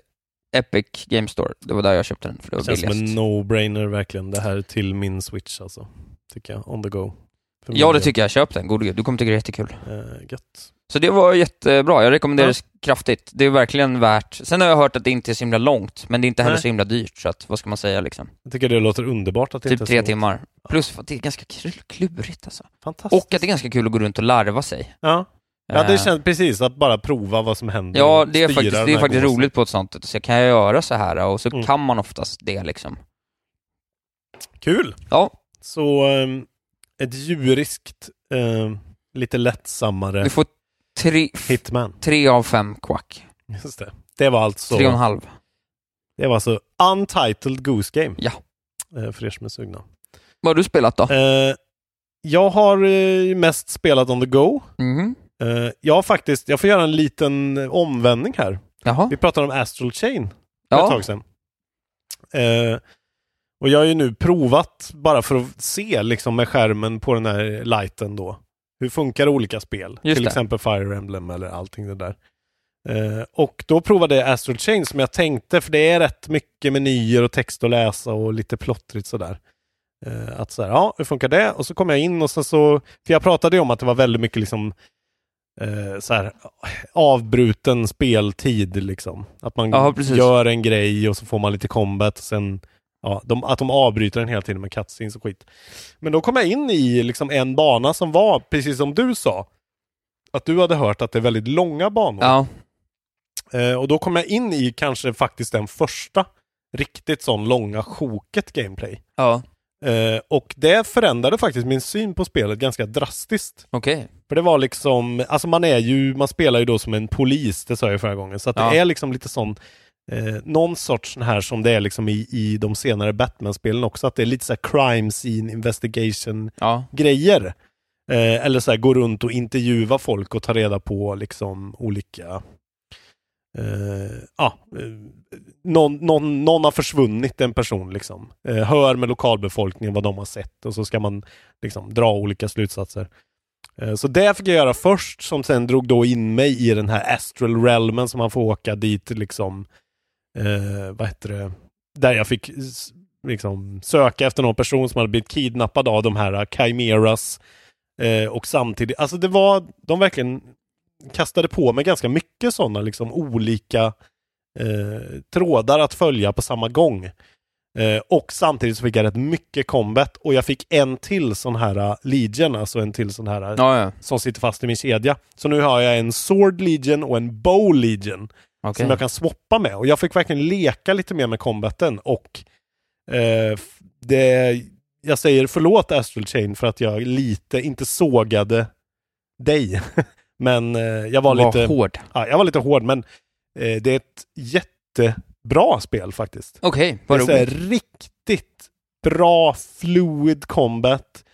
Epic Game Store. Det var där jag köpte den, för det Det var känns som billigast. en no-brainer verkligen. Det här är till min Switch alltså. Tycker jag. On the go. För min Ja, det del. tycker jag. Köp den, god gud. Du kommer tycka det är jättekul. Eh, gött. Så det var jättebra. Jag rekommenderar Ja. det kraftigt. Det är verkligen värt. Sen har jag hört att det inte är så himla långt, men det är inte heller Nej. så himla dyrt, så att, vad ska man säga liksom? Jag tycker det låter underbart att det inte Typ är tre så- timmar. Plus att det är ganska kul- klurigt alltså. Fantastiskt. Och att det är ganska kul att gå runt och larva sig. Ja. Ja, det Eh, känns precis. Att bara prova vad som händer. Ja, och det är styra faktiskt, den det är här faktiskt gåsen. roligt på ett sånt sätt. Så kan jag göra så här och så Mm. kan man oftast det liksom. Kul! Ja. Så ehm, ett djuriskt, ehm, lite lättsammare Du får tre, Hitman. tre av fem quack. Just det. Det var alltså... Tre och en halv. Det var alltså Untitled Goose Game. Ja. Eh, för er som är sugna. Vad har du spelat då? Eh, jag har eh, mest spelat on the go. Mhm. Eh, jag har faktiskt, jag får göra en liten eh, omvändning här. Jaha. Vi pratade om Astral Chain för Ja. ett tag sedan. Eh, och jag har ju nu provat bara för att se liksom med skärmen på den här lighten då. Hur funkar olika spel? Just Till det. exempel Fire Emblem eller allting det där. Eh, och då provade jag Astral Chain som jag tänkte, för det är rätt mycket menyer och text att läsa och lite plottrigt sådär. Eh, att så här, ja, hur funkar det? Och så kom jag in och sen så, för jag pratade ju om att det var väldigt mycket liksom eh, så här, avbruten speltid liksom. Att man Ja, precis. gör en grej och så får man lite combat och sen, ja, de, att de avbryter den hela tiden med cutscenes och skit. Men då kom jag in i liksom en bana som var, precis som du sa, att du hade hört att det är väldigt långa banor. Ja. Eh, och då kom jag in i kanske faktiskt den första riktigt sån långa sjoket gameplay. Ja. Eh, och det förändrade faktiskt min syn på spelet ganska drastiskt. Okej. För det var liksom, alltså man är ju, man spelar ju då som en polis, det sa jag förra gången. Så att Ja. det är liksom lite sån, eh, någon sorts sån här som det är liksom i, i de senare Batman-spelen också, att det är lite så här crime scene investigation-grejer. Eh, eller så här gå runt och intervjua folk och ta reda på liksom olika Eh, ja, eh, någon, någon, någon har försvunnit, en person liksom. Eh, hör med lokalbefolkningen vad de har sett och så ska man liksom dra olika slutsatser. Eh, så det fick jag göra först, som sen drog då in mig i den här astral realmen som man får åka dit liksom, eh, vad heter det, där jag fick s- liksom söka efter någon person som hade blivit kidnappad av de här chimeras. Eh, och samtidigt, alltså det var, de verkligen kastade på mig ganska mycket sådana liksom olika eh, trådar att följa på samma gång. Eh, och samtidigt så fick jag rätt mycket combat och jag fick en till sån här eh, legion, alltså en till sån här eh, Ja, ja. som sitter fast i min kedja. Så nu har jag en sword legion och en bow legion Okej. som jag kan swappa med. Och jag fick verkligen leka lite mer med combaten och eh, f- det, jag säger förlåt Astral Chain för att jag lite, inte sågade dig. men eh, jag var, Var lite... hård. Ja, jag var lite hård, men eh, det är ett jättebra spel faktiskt. Okej, Det vad är så här roligt. Alltså, riktigt bra fluid combat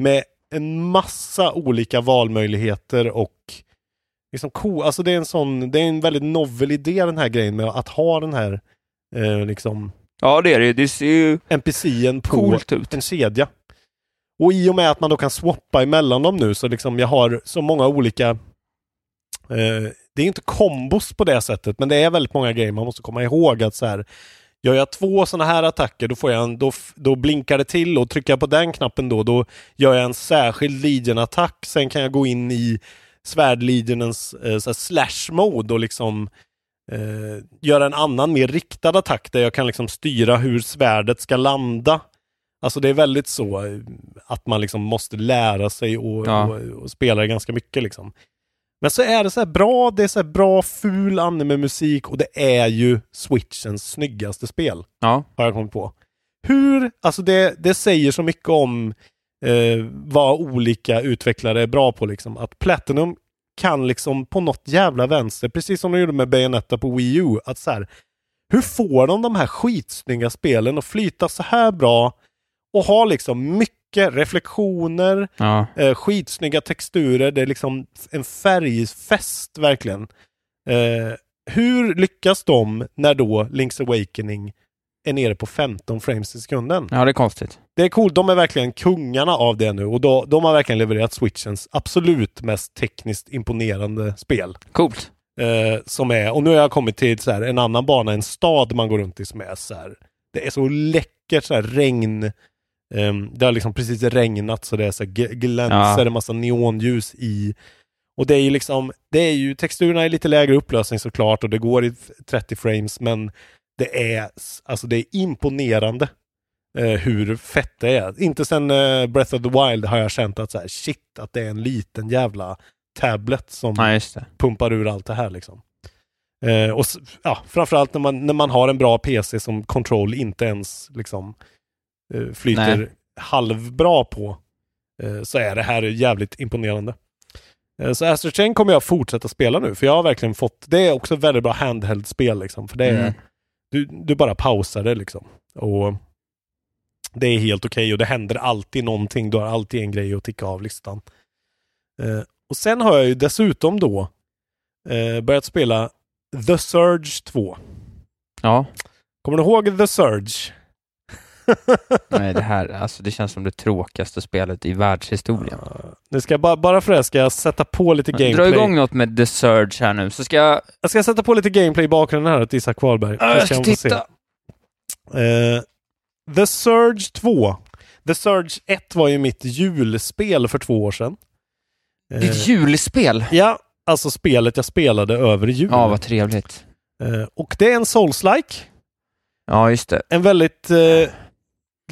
med en massa olika valmöjligheter och liksom cool. Alltså det är en sån, det är en väldigt novel idé den här grejen med att ha den här eh, liksom Ja, det är det ju. Det ser ju... NPCn på Coolt en kedja. Och i och med att man då kan swappa emellan dem nu så liksom jag har så många olika eh, det är inte kombos på det sättet, men det är väldigt många grejer man måste komma ihåg att så här Gör jag två sådana här attacker, då, får jag en, då, f- då blinkar det till och trycker jag på den knappen då, då gör jag en särskild Legion-attack. Sen kan jag gå in i svärdlegionens eh, så här slash-mode och liksom eh, göra en annan mer riktad attack där jag kan liksom styra hur svärdet ska landa. Alltså det är väldigt så eh, att man liksom måste lära sig och, Ja. och, och spela det ganska mycket liksom. Men så är det så här bra, det är så här bra ful anime-musik och det är ju Switchens snyggaste spel. Ja. Har jag kommit på. Hur, alltså det, det säger så mycket om eh, vad olika utvecklare är bra på liksom. Att Platinum kan liksom på något jävla vänster, precis som de gjorde med Bayonetta på Wii U, att så här, hur får de de här skitsnygga spelen att flyta så här bra och ha liksom mycket reflektioner, Ja. Eh, skitsnygga texturer, det är liksom en färgfest verkligen. Eh, hur lyckas de när då Link's Awakening är nere på 15 frames i sekunden? ja, det är konstigt. Det är coolt, de är verkligen kungarna av det nu och då, de har verkligen levererat Switchens absolut mest tekniskt imponerande spel. Coolt. Eh, som är, och nu har jag kommit till så här, en annan bana, en stad man går runt i som är så här, det är så läckert så här regn, ehm, det har liksom precis regnat så det är så här gl- glänser, Ja. en massa neonljus i. Och det är ju liksom, det är ju, texturerna är lite lägre upplösning såklart och det går i f- 30 frames men det är, s- alltså det är imponerande eh, hur fett det är. Inte sen eh, Breath of the Wild har jag känt att så här, shit, att det är en liten jävla tablet som Ja, just det. pumpar ur allt det här liksom. Eh, och s- ja, framförallt när man, när man har en bra PC som Control inte ens liksom eh, flyter Nej. halvbra på eh, så är det här jävligt imponerande. Eh, så Astro Chain kommer jag fortsätta spela nu för jag har verkligen fått, det är också väldigt bra handheld-spel liksom. För det är, Mm. du, du bara pausar det liksom. Och det är helt okej och det händer alltid någonting. Du har alltid en grej att ticka av listan. Eh, och sen har jag ju dessutom då eh, börjat spela The Surge 2. Ja. Kommer du ihåg The Surge? Nej, det här, alltså det känns som det tråkigaste spelet i världshistorien. Nu ska jag bara, bara för det här ska jag sätta på lite gameplay. Dra igång något med The Surge här nu, så ska jag... Jag ska sätta på lite gameplay i bakgrunden här åt Isak Wahlberg. Ja, Så jag ska han få se. titta. Eh, The Surge 2. The Surge 1 var ju mitt julspel för två år sedan. Eh. Ditt julspel? Ja, alltså spelet jag spelade över jul. Ja, vad trevligt. Eh, och det är en Souls-like. Ja, just det. En väldigt, eh,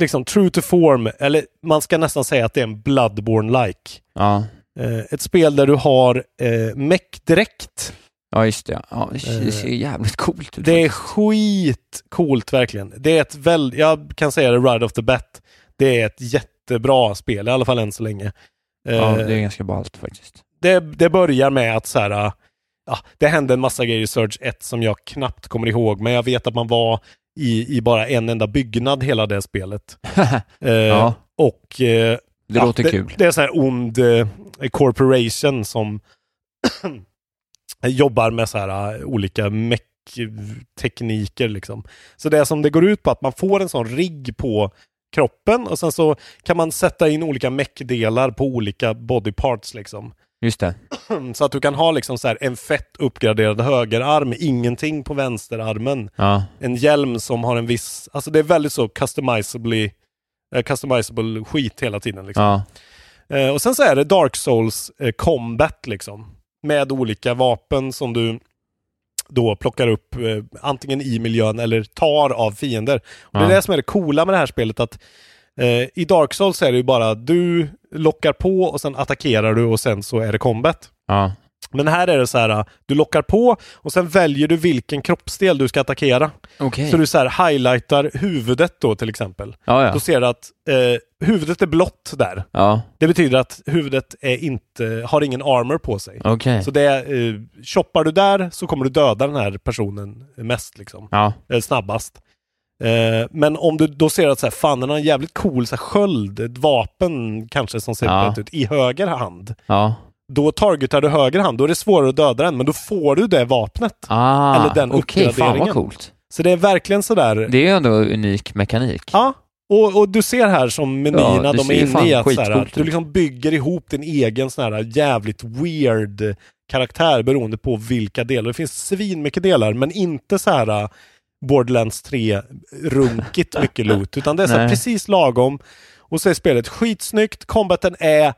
liksom true to form, eller man ska nästan säga att det är en Bloodborne-like. Ja, Eh, ett spel där du har eh, mech-dräkt. ja just det. Ja, det det ser Eh, jävligt coolt ut. Det är skitcoolt verkligen. Det är ett väl, jag kan säga det right off the bat. Det är ett jättebra spel, i alla fall än så länge. Ja, Eh, det är ganska ballt faktiskt. det, det börjar med att så här, äh, ja, det hände en massa grejer i Surge 1 som jag knappt kommer ihåg, men jag vet att man var i, i bara en enda byggnad hela det spelet. Eh, Ja. Och eh, Det låter det, kul. Det är så här ond eh, corporation som jobbar med så här eh, olika mech-tekniker liksom. Så det är som det går ut på att man får en sån rigg på kroppen och sen så kan man sätta in olika mech-delar på olika body parts liksom. Just det. Så att du kan ha liksom så här en fett uppgraderad högerarm, ingenting på vänsterarmen. Ja. En hjälm som har en viss, alltså det är väldigt så customizably, eh, customizable skit hela tiden. Liksom. Ja. Eh, och sen så är det Dark Souls eh, combat liksom. Med olika vapen som du då plockar upp eh, antingen i miljön eller tar av fiender. Och Det Ja. är det som är det coola med det här spelet att eh, i Dark Souls är det ju bara du lockar på och sen attackerar du och sen så är det combat. Ja. Men här är det så här, eh, du lockar på och sen väljer du vilken kroppsdel du ska attackera. Okej. Så du så här highlightar huvudet då till exempel. Ja, ja. Då ser du att eh, huvudet är blått där. Ja. Det betyder att huvudet är inte, har ingen armor på sig. Okej. Så det, eh, choppar du där så kommer du döda den här personen mest liksom. Ja. Eh, snabbast. Eh, men om du då ser att så här, fan den har en jävligt cool så här, sköld, ett vapen kanske som ser Ja. ja. ut, i höger hand. Ja. Då targetar du höger hand, då är det svårare att döda den, men då får du det vapnet. Ah, eller den okej, fan vad uppgraderingen. coolt. Så det är verkligen sådär... Det är ju ändå unik mekanik. Ja, och, och du ser här som menyerna Ja, det de ser är inne fan i, att så här, skitcoolt du ut. liksom bygger ihop din egen sån här jävligt weird karaktär beroende på vilka delar. Det finns svinmycket delar, men inte så här äh, Borderlands 3-runkigt mycket loot, utan det är så här Nej. precis lagom. Och så är spelet skitsnyggt, combaten är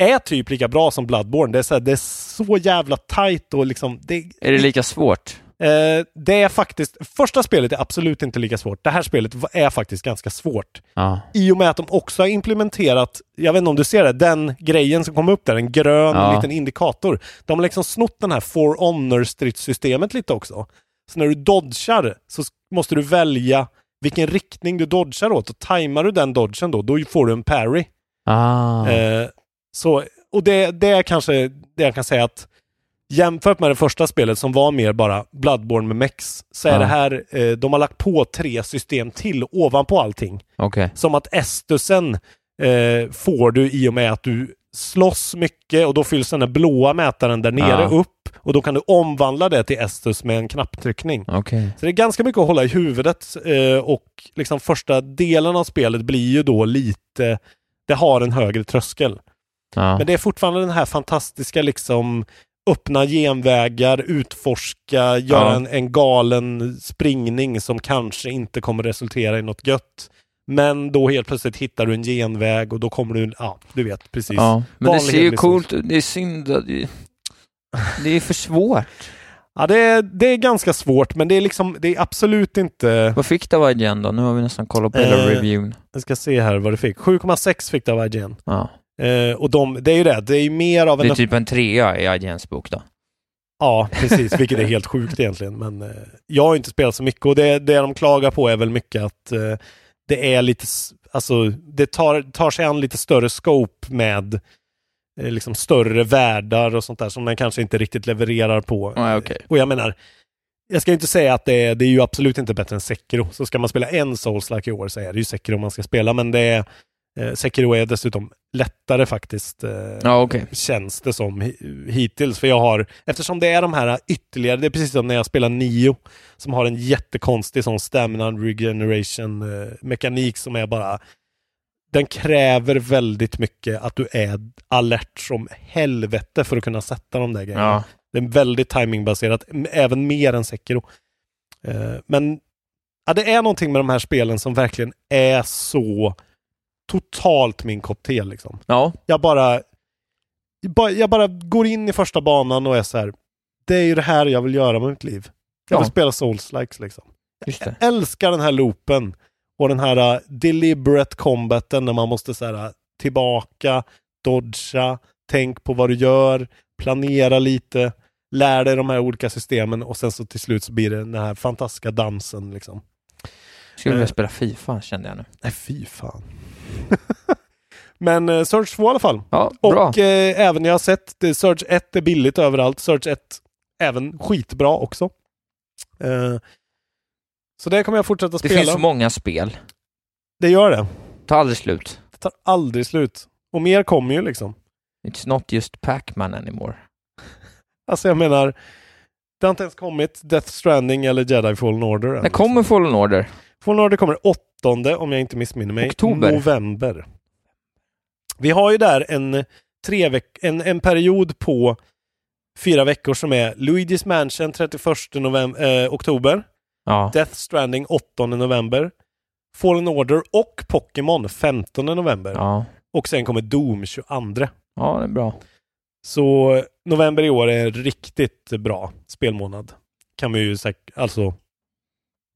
är typ lika bra som Bloodborne. Det är så, här, det är så jävla tight och liksom... Det, Är det lika svårt? Eh, det är faktiskt, första spelet är absolut inte lika svårt. Det här spelet va- är faktiskt ganska svårt. Ja. I och med att de också har implementerat, jag vet inte om du ser det, den grejen som kom upp där, en grön Ja. liten indikator. De har liksom snott den här For Honor-stridssystemet lite också. Så när du dodgar så s- måste du välja vilken riktning du dodgar åt och tajmar du den dodgen då, då får du en parry. Ah. Eh, så, och det, det är kanske det jag kan säga att jämfört med det första spelet som var mer bara Bloodborne med Mex, så är Ja. det här, eh, de har lagt på tre system till ovanpå allting. Okej. Som att estusen eh, får du i och med att du slåss mycket och då fylls den där blåa mätaren där nere Ja. upp och då kan du omvandla det till estus med en knapptryckning. Okej. Så det är ganska mycket att hålla i huvudet eh, och liksom första delen av spelet blir ju då lite, det har en högre tröskel. Ja. Men det är fortfarande den här fantastiska liksom öppna genvägar, utforska, göra en, en galen springning som kanske inte kommer resultera i något gött. Men då helt plötsligt hittar du en genväg och då kommer du, ja du vet precis. Ja. Men det Vanlig ser ju hemlig coolt ut. Det är synd att det- Det är för svårt. Ja, det är, det är ganska svårt, men det är liksom, det är absolut inte... Vad fick det av IGN då? Nu har vi nästan kollat på hela Eh, reviewn. Jag ska se här vad det fick. 7,6 fick det av IGN. Ja. Eh, och de, det är ju det, det är ju mer av Det en... är typ en trea i IGNs bok då. Ja, precis, vilket är helt sjukt egentligen. Men eh, jag har inte spelat så mycket och det, det de klagar på är väl mycket att eh, det är lite, s- alltså det tar, tar sig an lite större scope med eh, liksom större världar och sånt där som den kanske inte riktigt levererar på. Eh, Ja, okej. Och jag menar, jag ska ju inte säga att det är, det är ju absolut inte bättre än Sekiro. Så ska man spela en Souls-like i år så är det ju Sekiro man ska spela, men det är, eh, Sekiro är dessutom lättare faktiskt. Eh, Ja, okej. känns det som hi- hittills. För jag har, eftersom det är de här ytterligare, det är precis som när jag spelar Nio som har en jättekonstig sån stamina regeneration eh, mekanik som är bara den kräver väldigt mycket att du är alert som helvete för att kunna sätta de där grejerna. Ja. Det är väldigt timingbaserat, m- även mer än Sekiro. Eh, men ja, det är någonting med de här spelen som verkligen är så totalt min kopp te liksom. Ja. Jag bara, jag bara, jag bara går in i första banan och är så här. det är ju det här jag vill göra med mitt liv. Jag vill Ja. spela Souls-likes liksom. Just det. Jag älskar den här loopen och den här uh, deliberate combaten när man måste så här, uh, tillbaka, dodga, tänk på vad du gör, planera lite, lär dig de här olika systemen och sen så till slut så blir det den här fantastiska dansen liksom. Skulle vilja spela Fifa kände jag nu. Nej, fy fan. Men eh, Surge 2 i alla fall. Ja, bra. och eh, även jag har sett, det, Surge 1 är billigt överallt. Surge 1 även skitbra också. Eh, så det kommer jag fortsätta Det spela. finns så många spel. Det gör det. Tar aldrig slut. Det tar aldrig slut. Och mer kommer ju liksom. It's not just Pac-Man anymore. Alltså jag menar, det har inte ens kommit Death Stranding eller Jedi Fallen Order än. liksom. När kommer Fallen Order? Fallen Order kommer åttonde, om jag inte missminner mig. Oktober. November. Vi har ju där en, tre veck- en, en period på fyra veckor som är Luigi's Mansion 31 november, eh, oktober, Ja. Death Stranding 8 november, Fallen Order och Pokémon 15 november. Ja. Och sen kommer Doom 22. Ja, det är bra. Så november i år är en riktigt bra spelmånad. Kan vi ju säkert, alltså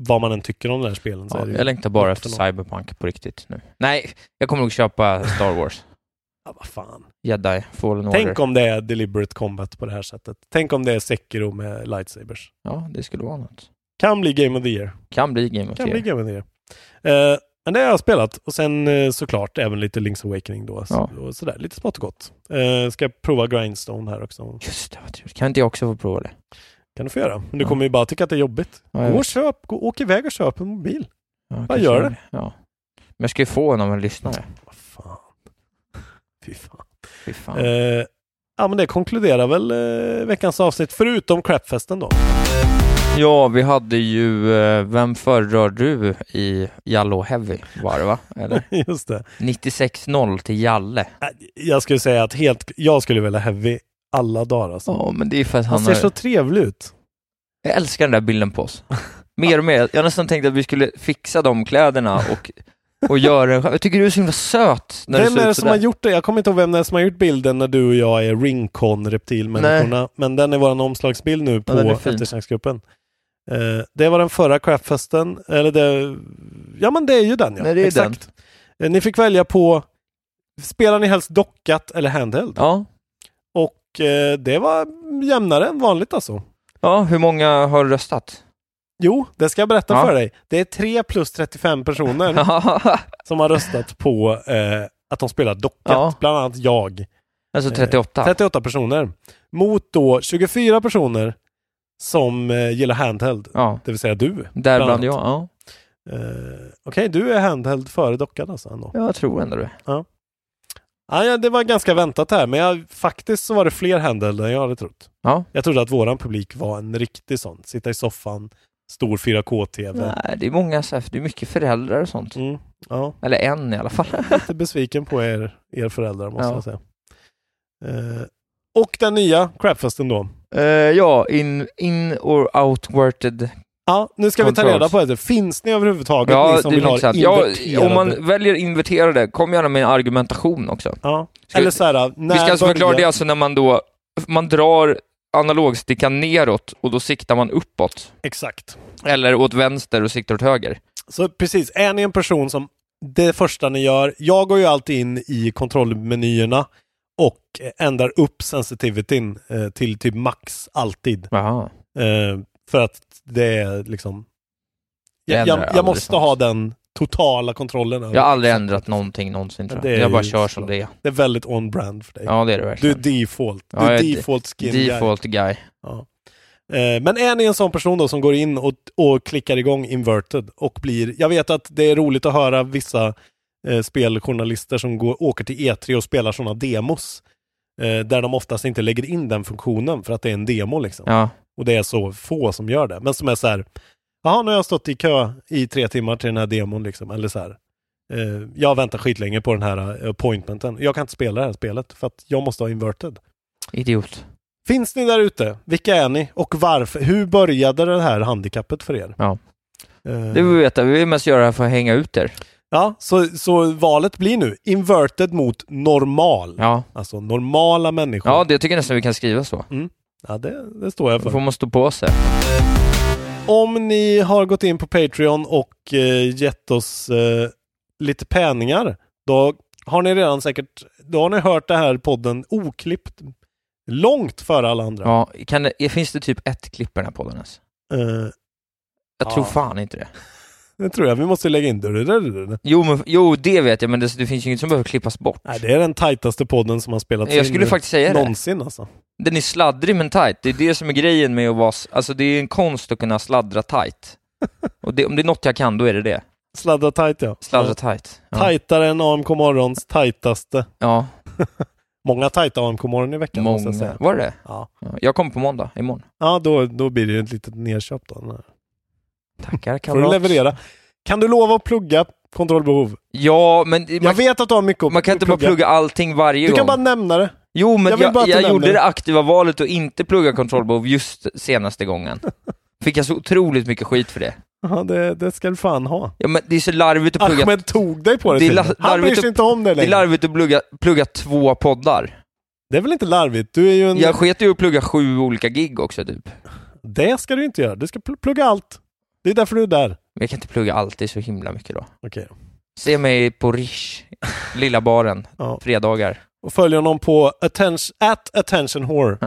vad man än tycker om den här spelen. så Ja, är det ju jag längtar bara gott efter för något. Cyberpunk på riktigt nu. Nej, jag kommer nog köpa Star Wars. Ja, vad fan. Jedi, Fallen Tänk Order. om det är deliberate combat på det här sättet. Tänk om det är Sekiro med lightsabers. Ja, det skulle vara något. Kan bli Game of the Year. Kan bli Game of Kan the bli Year. Game of the Year. Eh, men det har jag spelat. Och sen eh, såklart även lite Link's Awakening då. Ja. Så, och sådär. Lite smått och gott. Eh, ska jag prova Grindstone här också. Just det, vad trevligt. Kan inte jag också få prova det? kan du få göra. Men du Ja. kommer ju bara tycka att det är jobbigt. Ja, jag gå och vet. köp. Gå, åk iväg och köp en mobil. Ja, Vad kanske gör jag- det? Ja. Men jag ska ju få en av en lyssnare. Vad fan. Fy fan. Fy fan. Eh, ja men det konkluderar väl eh, veckans avsnitt. Förutom crapfesten då. Ja, vi hade ju eh, Vem föredrar du i Jallo Heavy var det va? Eller? Just det. 96-0 till Jalle. Äh, Jag skulle säga att helt, jag skulle vilja Heavy alla dagar alltså. Ja, men det är för att han Han ser har... så trevlig ut. Jag älskar den där bilden på oss. Mer och mer. Jag nästan tänkte att vi skulle fixa de kläderna och, och göra en Jag tycker du är så himla söt när du vem ser är det ut som sådär. har gjort det? Jag kommer inte ihåg vem det är som har gjort bilden när du och jag är Ringcon-reptilmänniskorna. Men den är vår omslagsbild nu på Ja, den är fin. eftersnacksgruppen. Eh, det var den förra crapfesten. Eller det... Ja men det är ju den ja. Nej, det är Exakt. Eh, ni fick välja på Spelar ni helst dockat eller handheld? Ja. Och eh, det var jämnare än vanligt alltså. ja, hur många har röstat? Jo, det ska jag berätta Ja. för dig. Det är 3 plus 35 personer Alltså, som har röstat på eh, att de spelar dockat. Ja. Bland annat jag. alltså 38. 38 personer. Mot då 24 personer som eh, gillar handheld. Ja, Det vill säga du. däribland jag. Ja. Eh, Okej, du är handheld före dockad alltså ändå. Jag tror ändå det. Ja, ja, det var ganska väntat här, men jag, faktiskt så var det fler handheld än jag hade trott. Ja. Jag trodde att våran publik var en riktig sån. Sitta i soffan, stor 4K-TV. Nej, det är många så här, det är mycket föräldrar och sånt. Mm, ja, Eller en i alla fall. lite besviken på er, er föräldrar måste Ja. jag säga. Eh, och den nya crapfesten då. Eh, ja, in, in or outworted. Ja, nu ska vi ta Controls. reda på det. Finns ni överhuvudtaget, ni som det är vill ha intressant. Ja, inverterade? om man väljer inverterade, kom gärna med en argumentation också. ja. Ska- Eller så här, när Vi ska alltså förklara det är börjar- alltså när man då, man drar analogstickan neråt och då siktar man uppåt. Exakt. Eller åt vänster och siktar åt höger. Så precis, är ni en person som det första ni gör, jag går ju alltid in i kontrollmenyerna och eh, ändrar upp sensitivityn eh, till typ max alltid. Jaha. Eh, för att det är liksom... Det Jag, ändrar jag, jag aldrig måste sånt. ha den totala kontrollen. över- Jag har aldrig ändrat någonting någonsin tror Det är jag. Jag bara ju kör så. som det är. Det är väldigt on-brand för dig. Ja, det är det Du är verkligen. default. Du Ja, är jag är default skin guy. Default guy. Eh, Men är ni en sån person då som går in och, och klickar igång inverted och blir... Jag vet att det är roligt att höra vissa eh, speljournalister som går, åker till E3 och spelar sådana demos. Eh, där de oftast inte lägger in den funktionen för att det är en demo liksom. Ja. Och det är så få som gör det. Men som är så här, jaha nu har jag stått i kö i tre timmar till den här demon liksom. Eller så här, eh, jag väntar skitlänge på den här eh, appointmenten. Jag kan inte spela det här spelet för att jag måste ha inverted. Idiot. Finns ni där ute? Vilka är ni? Och varför? Hur började det här handikappet för er? Ja. Eh, Det vill vi veta. Vi vill mest göra det här för att hänga ut er. ja så, så valet blir nu inverted mot normal. Ja. Alltså normala människor. Ja, det tycker jag nästan vi kan skriva så. Ja, det, det står jag Då för. får man stå på sig. Om ni har gått in på Patreon och eh, gett oss eh, lite penningar, då har ni redan säkert, då har ni hört det här podden oklippt långt före alla andra. Ja, kan det, finns det typ ett klipp i den här podden ens? Eh, Jag Ja. tror fan inte det. Det tror jag. Vi måste lägga in... det. Jo, men, jo, det vet jag, men det, det finns ju inget som behöver klippas bort. Nej, det är den tajtaste podden som har spelats Jag in skulle faktiskt säga det. någonsin alltså. Den är sladdrig men tight. Det är det som är grejen med att vara... s- Alltså det är en konst att kunna sladdra tight. Och det, om det är något jag kan, då är det det. Sladdra tajt ja. Sladdra Ja. tight. Ja. Tajtare än AMK Morgons tajtaste. Ja. Många tajta AMK Morgon i veckan måste jag Många. säga. Var det det? Ja. Jag kommer på måndag, imorgon. Ja, då, då blir det ju ett litet nedköp då. den här. Tackar Får du kamrat. leverera. Kan du lova att plugga kontrollbehov? Ja, men... Man, jag vet att du har mycket att Man kan inte bara plugga allting varje Du gång. kan bara nämna det. Jo, men vill jag, bara att jag, du nämner gjorde det aktiva valet att inte plugga kontrollbehov just senaste gången. Fick jag så otroligt mycket skit för det. Ja, det, det ska du fan ha. Ja, men det är så larvigt att plugga... Ahmed tog dig på det, är la- tydligen. Han larvigt bryr sig att- inte om Ah, det Det är längre. larvigt att plugga, plugga två poddar. Det är väl inte larvigt? Du är ju en... Jag sket ju att plugga sju olika gig också typ. Det ska du inte göra. Du ska pl- plugga allt. Det är därför du är där. Men jag kan inte plugga allt, det är så himla mycket då. Okej. Se mig på Rish, lilla baren, fredagar. Och följ honom på attention, at attention whore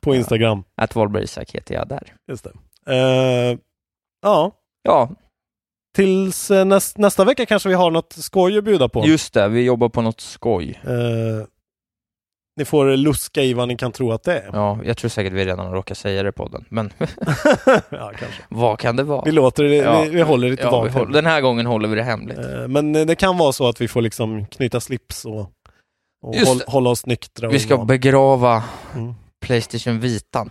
på Instagram. Att Wahlberg Isak heter jag där. Just det. Eh, ja. Ja. Tills eh, näs, nästa vecka kanske vi har något skoj att bjuda på. Just det, vi jobbar på något skoj. Eh, ni får luska i vad ni kan tro att det är. Ja, jag tror säkert vi redan har råkat säga det i podden, men ja, kanske. vad kan det vara? Vi låter det- vi- vi håller det lite ja, vi vagt håller, hemligt. Den här gången håller vi det hemligt. Eh, men eh, det kan vara så att vi får liksom knyta slips och, och Just håll, det. hålla oss nyktra. Vi och ska vara- begrava Mm. Playstation Vitan.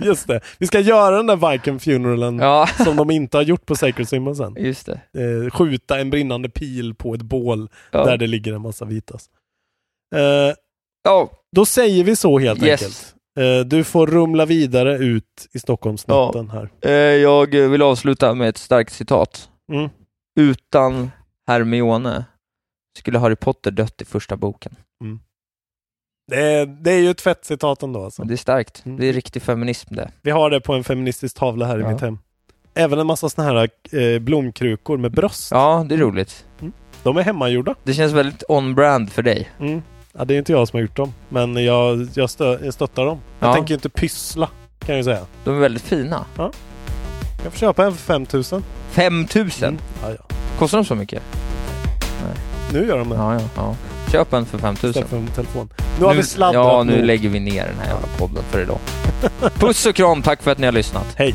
Just det. Vi ska göra den där Viking funeralen Mm. Ja. som de inte har gjort på Sacred Simba sen. Just det. Eh, skjuta en brinnande pil på ett bål Ja. där det ligger en massa vitas. Eh, ja. Då säger vi så helt Yes. enkelt. Eh, du får rumla vidare ut i Stockholmsnatten här. Eh, Jag vill avsluta med ett starkt citat. Mm. Utan Hermione skulle Harry Potter dött i första boken. Det är, det är ju ett fett citat ändå alltså. Det är starkt. Det är riktig feminism det. Vi har det på en feministisk tavla här Ja. i mitt hem. Även en massa såna här eh, blomkrukor med bröst. Ja, det är roligt. De är hemmagjorda. Det känns väldigt on-brand för dig. Mm. Ja, det är inte jag som har gjort dem, men jag, jag, stö, jag stöttar dem. Jag Ja. tänker ju inte pyssla, kan jag ju säga. De är väldigt fina. Ja. Jag får köpa en för 5000. 5000? Ja, ja. Kostar de så mycket? Nej. Nu gör de det. Ja, ja, ja. Köp en för 5000. Istället för en telefon. Nu har vi sladdrat Ja, nu nog. lägger vi ner den här jävla podden för idag. Puss och kram, tack för att ni har lyssnat. Hej!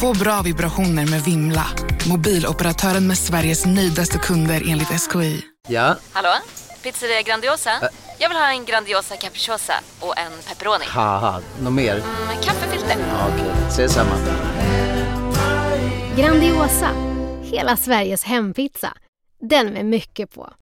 Få bra vibrationer med Vimla. Mobiloperatören med Sveriges nöjdaste kunder enligt SKI. Ja, Hallå? Pizzeria Grandiosa? Jag vill ha en Grandiosa capriciosa och en pepperoni. haha, något mer? Med kaffefilter. Ja, Okej, ses samma. Grandiosa, hela Sveriges hempizza. Den med mycket på.